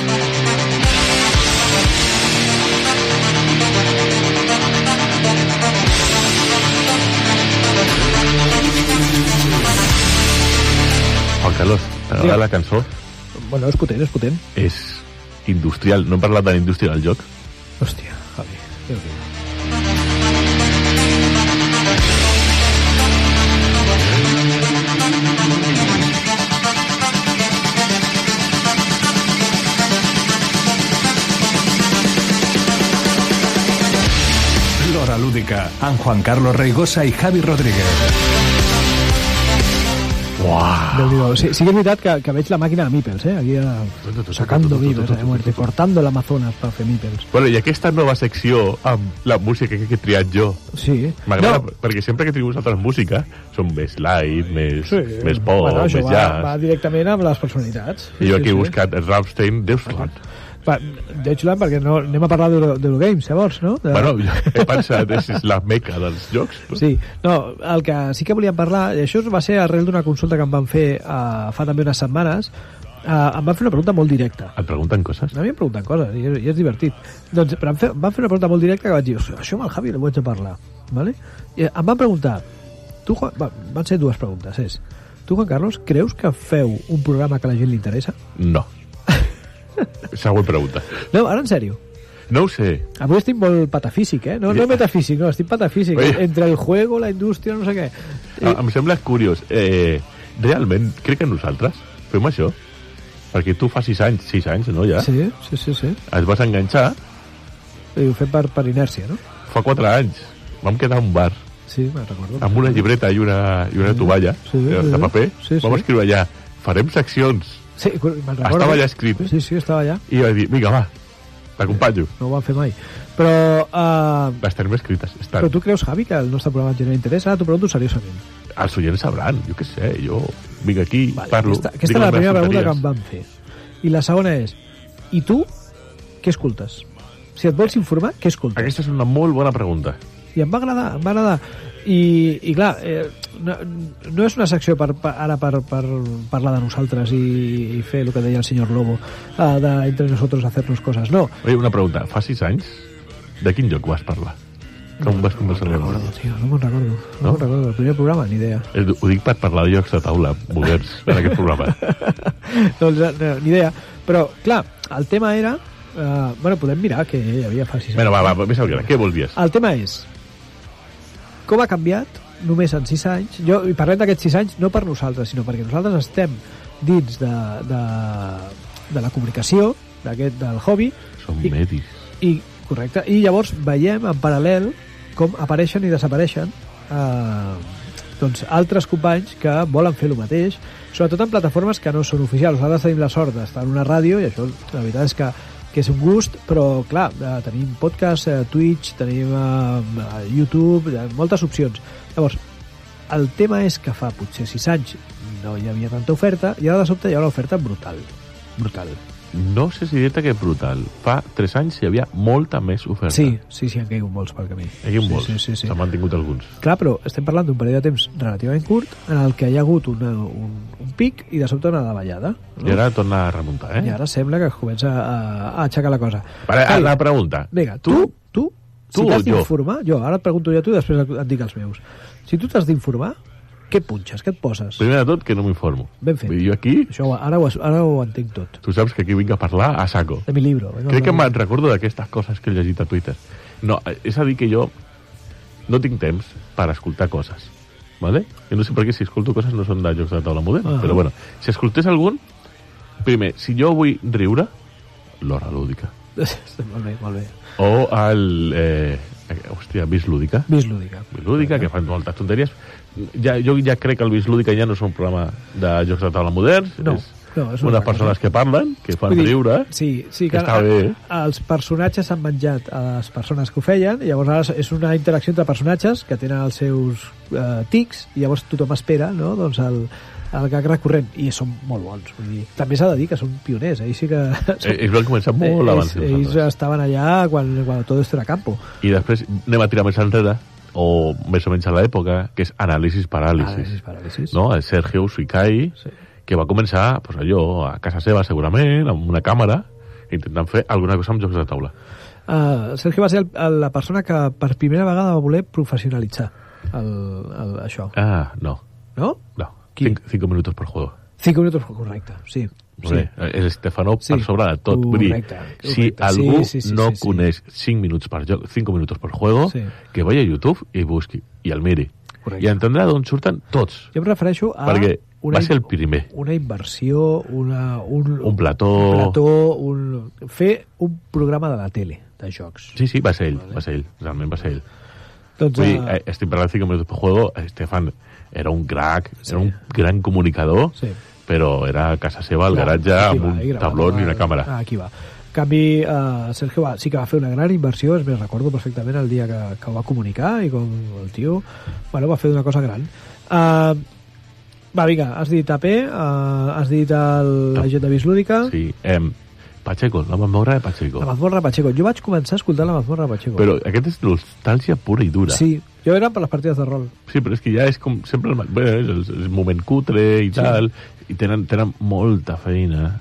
Juan Carlos, t'agrada Digue. la cançó? Bueno, és potent, és potent. És industrial. No hem parlat de la indústria del joc. Hòstia, Javi, déu nhi L'Hora Lúdica, amb Juan Carlos Reigosa i Javi Rodríguez. Uah! Déu-n'hi-do. sí, sí que és veritat que, que veig la màquina de Mipels, eh? Aquí a... sacando Mipels, eh? Muerte, cortando el Amazonas per fer Mipels. Bueno, i aquesta nova secció amb la música que he triat jo, Sí. m'agrada, No, no. perquè sempre que triu vosaltres música, són més light, més, sí. més pop, bueno, bueno, això més va, jazz. va directament amb les personalitats. I jo aquí he buscat Rammstein, Deutschland. Va, Deutschland, perquè no, anem a parlar d'Euro- d'Eurogames, llavors, no? De... Bueno, jo he pensat, és la meca dels jocs. Sí, no, el que sí que volíem parlar, i això va ser arrel d'una consulta que em van fer uh, fa també unes setmanes, uh, em van fer una pregunta molt directa. Et pregunten coses? A mi em pregunten coses, i és, i és divertit. Doncs, però em, fe, em van fer una pregunta molt directa que vaig dir, "Hòstia, això amb el Javi ho haig de parlar. Vale? I em van preguntar, tu, Juan, va, van ser dues preguntes, és, tu, Juan Carlos, creus que feu un programa que a la gent li interessa? No. Següent pregunta. No, ara en sèrio. No ho sé. Avui estic molt patafísic, eh? No, no Oye. metafísic, no, estic patafísic. Oye. Entre el juego, la indústria, no sé què. Ah, em sembla curiós. Eh, realment, crec que nosaltres fem això. Perquè tu fa 6 anys, 6 anys, no, ja? Sí. Sí, sí, sí, sí. Et vas enganxar I ho fem per, per inèrcia, no? fa 4 anys. Vam quedar a un bar Sí, me'n recordo. amb una llibreta i una, i una tovalla Sí, de, sí, de paper. sí, sí. Vam escriure allà, farem seccions. Sí, me'n recordo. Estava allà escrit. Sí, sí, estava allà. I va dir, vinga, va, T'acompanyo. no ho van fer mai. Però, uh, Les tenim escrites. Estan. però tu creus, Javi, que el nostre programa Ah, et genera interès? Ara t'ho pregunto seriosament. Els oients sabran, jo què sé, jo vinc aquí, parlo... aquesta aquesta dic era la les meves primera pregunta que em tonteries. van fer. I la segona és, i tu què escoltes? Si et vols informar, què escoltes? Aquesta és una molt bona pregunta. i em va agradar, em va agradar i, i clar, eh, no, no és una secció per, per, ara per, per parlar de nosaltres i, i fer el que deia el senyor Lobo eh, de entre nosaltres hacernos coses, no Oye, una pregunta. Fa sis anys, de quin lloc vas parlar? Com vas conversar amb no, el tio, no me'n recordo, no, no? No? me'n recordo el primer programa, ni idea Ho dic per parlar de llocs de taula, moderns, en aquest [laughs] programa. no, no, no, ni idea, però clar el tema era, eh, bueno, podem mirar que hi havia fa sis anys. Bueno, va, va, més al gran. Què volies? El tema és com ha canviat només en 6 anys. Jo, I parlem d'aquests 6 anys no per nosaltres, sinó perquè nosaltres estem dins de, de, de la comunicació, d'aquest del hobby, Som i- medis. i, correcte, i llavors veiem en paral·lel com apareixen i desapareixen eh, doncs altres companys que volen fer el mateix, sobretot en plataformes que no són oficials. Nosaltres tenim la sort d'estar en una ràdio i això la veritat és que que és un gust, però clar, eh, tenim podcast, eh, Twitch, tenim eh, YouTube, hi ha moltes opcions. Llavors, el tema és que fa potser 6 anys no hi havia tanta oferta i ara de sobte hi ha una oferta brutal. Brutal. No sé si dir-te que brutal. Fa tres anys hi havia molta més oferta. Sí, sí, sí, han caigut molts pel camí. Hi havia sí, molts. Sí, sí, sí. Se'n mantingut alguns. Clar, però estem parlant d'un període de temps relativament curt en el que hi ha hagut una, un, un pic i de sobte una davallada. No? I ara torna a remuntar, eh? I ara sembla que es comença a, a aixecar la cosa. Vale, Ai, la pregunta. Vinga, tu, tu, Tu si o t'has jo? d'informar... Jo, ara et pregunto jo a tu i després et dic els meus. Si tu t'has d'informar, què punxes, què et poses? Primer de tot, que no m'informo. Ben fet. Jo aquí, Això, ho- ara, ho, es- ara ho entenc tot. tu saps que aquí vinc a parlar a saco. De mi libro. Venga, Crec que home. me'n recordo d'aquestes coses que he llegit a Twitter. No, eh, és a dir que jo no tinc temps per escoltar coses. ¿vale? Jo no sé per què si escolto coses no són de jocs de taula moderna, Ah. però bueno, si escoltés algun, primer, si jo vull riure, l'hora lúdica. [laughs] molt bé, molt bé. O el... Eh, hòstia, vis lúdica. Vis lúdica. Vis lúdica, que fan moltes tonteries. Ja, jo ja crec que el vis lúdica ja no és un programa de jocs de taula moderns. No, és no, és una unes altra persones que parlen, que fan Vull dir, riure. Sí, sí que que està a- bé. a- els personatges s'han menjat a les persones que ho feien, i llavors ara és una interacció entre personatges que tenen els seus eh, tics, i llavors tothom espera no? doncs el, el gag recurrent, i són molt bons. Vull dir, també s'ha de dir que són pioners, ells sí que... Eh, Ells van començar molt ells- abans que ells nosaltres. estaven allà quan, quan tot esto era campo. I després anem a tirar més enrere, o més o menys a l'època, que és anàlisis paràlisis. Paràlisis, paràlisis. No? El Sergio Suicai, Sí. que va començar pues, allò, a casa seva segurament, amb una càmera, intentant fer alguna cosa amb jocs de taula. Uh, Sergio va ser el, la persona que per primera vegada va voler professionalitzar el, el, això, Ah, no, no? no. Qui? Cinc, cinco minutos per juego. 5 minuts, correcte, sí. Sí. sí. És Estefano Sí. sí. per sobre de tot. Vull dir, Correcte, correcte. si Sí, algú sí, sí, no sí, sí. coneix 5 minuts per joc, 5 minuts per juego, Sí. que vagi a YouTube i busqui, i el miri. Correcte. I entendrà d'on surten tots. Jo em refereixo a... Perquè va in- ser el primer. Una inversió, una, un, Un plató. Un plató un, fer un programa de la tele, de jocs. Sí, sí, va ser ell, va ser ell, realment va ser ell. Doncs, Vull dir, eh, eh, estic parlant de 5 minuts per juego, Estefan era un crac, era un gran comunicador, Sí. però era a casa seva, al clar, garatge, aquí amb va, un i gravava- tabló i una càmera. Ah, aquí va. En canvi, eh, Sergio va, sí que va fer una gran inversió, es me recordo perfectament el dia que, que ho va comunicar i com el tio bueno, va fer una cosa gran. Eh, va, vinga, has dit AP, eh, has dit el, la gent de Bislúdica, Sí, em, Pacheco, la mazmorra de Pacheco. la mazmorra Pacheco. Jo vaig començar a escoltar la mazmorra Pacheco. Però aquest és nostàlgia pura i dura. Sí, jo era per les partides de rol. Sí, però és que ja és com sempre el, ma- bé, és el, el moment cutre i tal, i tenen, tenen molta feina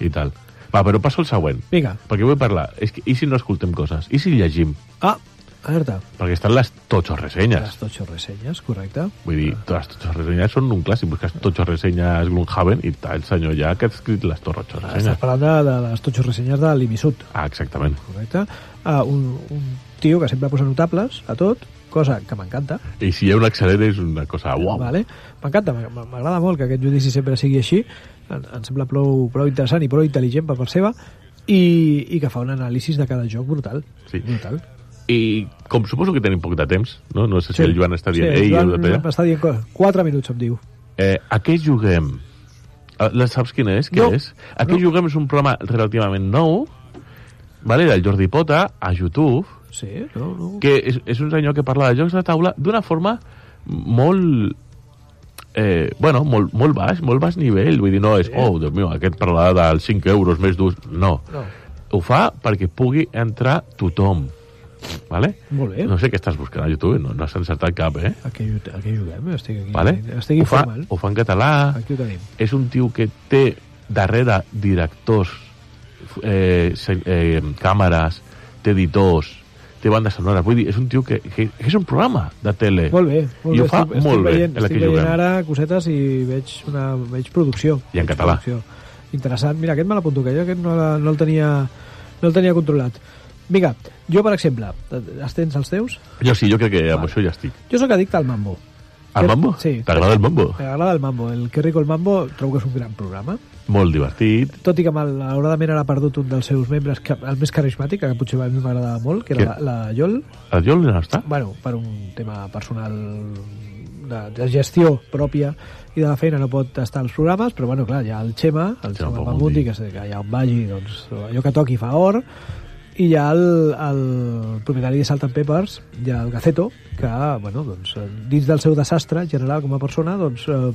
i tal. Va, però passo al següent, Vinga, perquè vull parlar. És que, I si no escoltem coses? I si llegim? ah, alerta. Perquè estan les totxos Les ressenyes. totxo ressenyes, correcte. Vull dir, les totxos ressenyes són un clàssic. Busques totxos ressenyes Gloomhaven i tal, el senyor ja que ha escrit les totxos Estàs ressenyes. parlant de, de les totxo ressenyes de l'Imisut, Ah, exactament. correcte? Ah, un, un tio que sempre posa notables a tot, cosa que m'encanta, I si hi ha un acceler és una cosa... Uau, vale? m'encanta, m'ag- m'agrada molt que aquest judici sempre sigui així, em, em sembla prou, prou interessant i prou intel·ligent per part seva, i, i que fa un anàlisi de cada joc brutal. Sí. brutal. I com suposo que tenim poc de temps, no? No sé si el Joan està dient... Sí, Ei, el Joan heu de tallar". m'està dient coses. 4 minuts, em diu. Eh, a què juguem? Eh, La saps quina és? Què No. és? A què No. juguem és un programa relativament nou vale, del Jordi Pota a YouTube, Sí, no, no. que és, és un senyor que parla de jocs de taula d'una forma molt... Eh, bueno, molt, molt baix, molt baix nivell. Vull dir, no és, oh, Déu meu, aquest parlarà dels 5 euros més durs. No. no. Ho fa perquè pugui entrar tothom. Vale? Molt bé. No sé què estàs buscant a YouTube, no, no has encertat cap, eh? Aquí, aquí juguem, estic aquí. Vale? Estic ho, fa, informal. ho fa en català. Aquí ho tenim. És un tio que té darrere directors, eh, se- eh, càmeres, té editors, té bandes sonores. Vull dir, és un tio que, que és un programa de tele. Molt bé, molt I ho bé. fa estic, molt estic bé veient, en la estic que veient juguem. ara cosetes i veig, una, veig producció. I en Veig català. Producció. Interessant. Mira, aquest me l'apunto, que jo aquest no, la- no, el tenia, no el tenia controlat. Vinga, jo, per exemple, els tens els teus? Jo sí, jo crec que amb això ja estic. Jo sóc addicte al Mambo. El Jo- Mambo? Sí. Eh. T'agrada el Mambo? M'agrada el Mambo. El Que rico el Mambo trobo que és un gran programa. Molt divertit. Tot i que malauradament ara ha perdut un dels seus membres, que, el més carismàtic, que potser a mi m'agradava molt, que era Qui? la, la Yol. El Jol no està? bueno, per un tema personal de, de gestió pròpia i de la feina no pot estar als programes, però bueno, clar, hi ha el Xema, el Xema Xema Palmundi. Palmundi, que, se- que ja on vagi, doncs, allò que toqui fa or, i hi ha el, el propietari de Salt and Peppers, hi ha el Gaceto, que, bueno, doncs, eh, dins del seu desastre general com a persona, doncs, eh,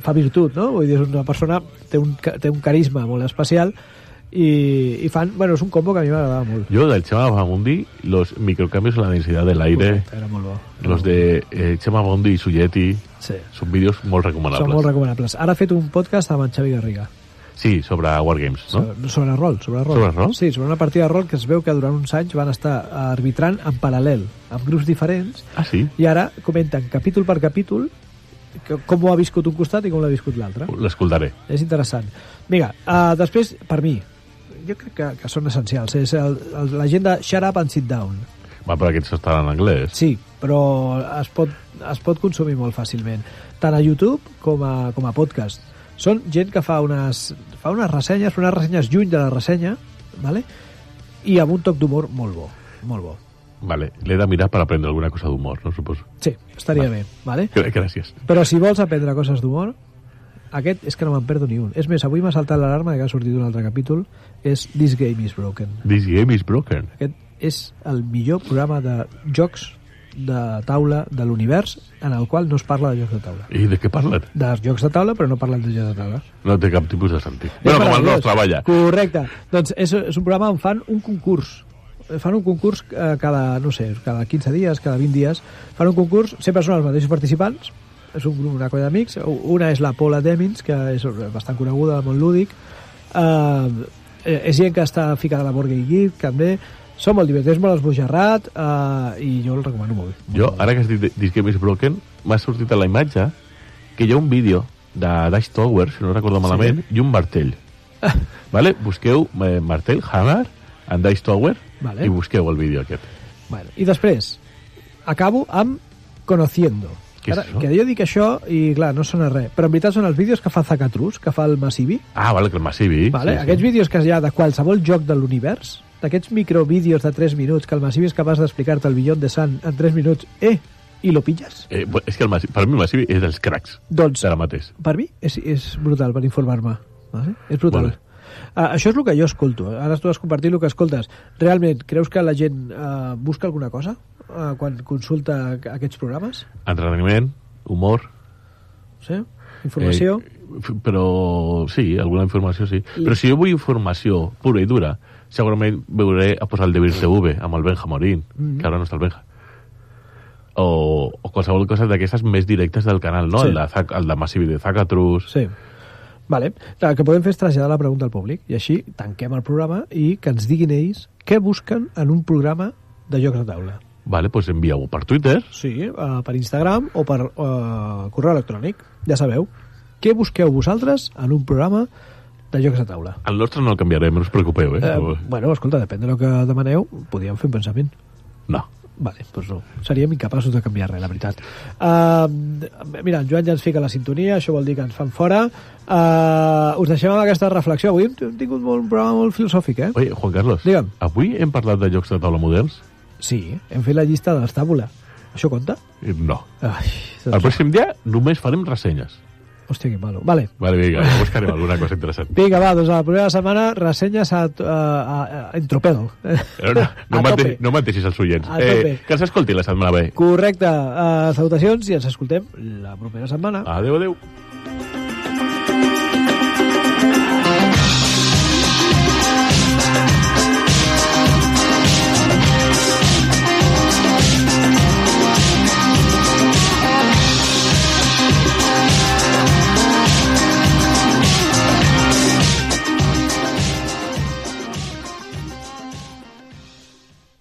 fa virtut, no? Vull dir, és una persona, té un, ca- té un carisma molt especial, i, i fan, bueno, és un combo que a mi m'agradava molt. Yo del Chema Bamundi, los microcambios en la densidad del aire, Era molt bo. los de eh, Chema Bondi i Suyeti, Sí. són vídeos molt Són molt recomanables. recomanables. Ara ha fet un podcast amb en Xavi Garriga. Sí, sobre Wargames, no? Sobre, sobre rol, sobre rol. Sobre rol? Sí, sobre una partida de rol que es veu que durant uns anys van estar arbitrant en paral·lel, amb grups diferents, Ah, sí? i ara comenten capítol per capítol que, com ho ha viscut un costat i com l'ha viscut l'altre. L'escoltaré. És interessant. Vinga, uh, després, per mi, jo crec que, que són essencials. És el- el- l'agenda Shut Up and Sit Down. Va, però aquests estan en anglès. Sí, però es pot, es pot consumir molt fàcilment, tant a YouTube com a, com a podcast. Són gent que fa unes, fa unes ressenyes, unes ressenyes lluny de la ressenya, ¿vale? i amb un toc d'humor molt bo, molt bo. Vale, l'he de mirar per aprendre alguna cosa d'humor, no suposo. Sí, estaria bé, ¿vale? Gr- Gràcies. Però si vols aprendre coses d'humor, aquest és que no me'n perdo ni un. És més, avui m'ha saltat l'alarma de que ha sortit un altre capítol, és This Game is Broken. This game is broken. Aquest és el millor programa de jocs de taula de l'univers en el qual no es parla de jocs de taula. I de què parlen? de jocs de taula, però no parlen de jocs de taula. No té cap tipus de sentit. És Bueno, com el meravellós. nostre, vaja. Correcte. Doncs és, és un programa on fan un concurs. Eh, Fan un concurs eh, cada, no sé, cada 15 dies, cada 20 dies. Fan un concurs, sempre són els mateixos participants, és un grup, una colla d'amics. U- Una és la Paula Demins, que és bastant coneguda del món lúdic. Eh, eh, és gent que està ficada a la Board Game Geek, també. Són molt divertits, molt esbojarrat, eh, i jo el recomano molt. Jo, ara que has dit This game is broken, m'ha sortit a la imatge que hi ha un vídeo de Dash Tower, si no recordo malament, i [laughs] un martell. vale? Busqueu eh, martell, hammer, en Dash Tower, Vale. i busqueu el vídeo aquest. Bueno, I després, acabo amb Conociendo. Què és Ara, això? que jo dic això i, clar, no sona res. Però en veritat són els vídeos que fa Zacatrus, que fa el Massivi. Ah, vale, que el Massivi. Vale? Sí, Aquests vídeos que hi ha de qualsevol joc de l'univers, d'aquests microvídeos de 3 minuts que el Massivi és capaç d'explicar-te el billón de Sant en 3 minuts, eh, i lo pilles? Eh, bu- és que el Massivi, per mi el Massivi és dels cracs. Doncs, Serà mateix. per mi, és, és brutal per informar-me. Vale? És brutal. Molt bé. Uh, això és el que jo escolto. Ara tu has compartit el que escoltes. Realment, creus que la gent uh, busca alguna cosa uh, quan consulta aqu- aquests programes? Entrenament, humor... Sí? Informació? Eh, Eh, f- però sí, alguna informació sí. Però si jo vull informació pura i dura, segurament veuré a posar el Devir TV amb el Benja Morín, Mhm. que ara no està el Benja. O, o qualsevol cosa d'aquestes més directes del canal, no? Sí. Sí. El, de, Zac- el de Massivi de Zacatrus... sí. Vale. El que podem fer és traslladar la pregunta al públic i així tanquem el programa i que ens diguin ells què busquen en un programa de jocs de taula. Vale, doncs envieu-ho per Twitter. Sí, uh, per Instagram o per uh, correu electrònic. Ja sabeu. Què busqueu vosaltres en un programa de jocs de taula? El nostre no el canviarem, no us preocupeu, eh? Eh, bueno, escolta, depèn del que demaneu, podíem fer un pensament. No. Vale, doncs no. Seríem incapaços de canviar res, la veritat. Uh, mira, el Joan ja ens fica la sintonia, això vol dir que ens fan fora. Uh, us deixem amb aquesta reflexió. Avui hem hem tingut molt, un programa molt filosòfic, eh? Oi, Juan Carlos, Digue'm. avui hem parlat de jocs de taula models? Sí, hem fet la llista de les tàbula. Això compta? Eh, No. Ai, doncs El pròxim dia només farem ressenyes. Hòstia, que malo. Vale. Vale, [laughs] vinga, ja buscarem alguna cosa interessant. Vinga, va, doncs a la primera setmana ressenyes a, a, a, a en tropel. [laughs] No, no, no, A mate, tope. no mateixis els oients. A Eh, tope. que els escolti la setmana bé. Eh, Correcte. Uh, salutacions i ens escoltem la propera setmana. Adéu, adéu.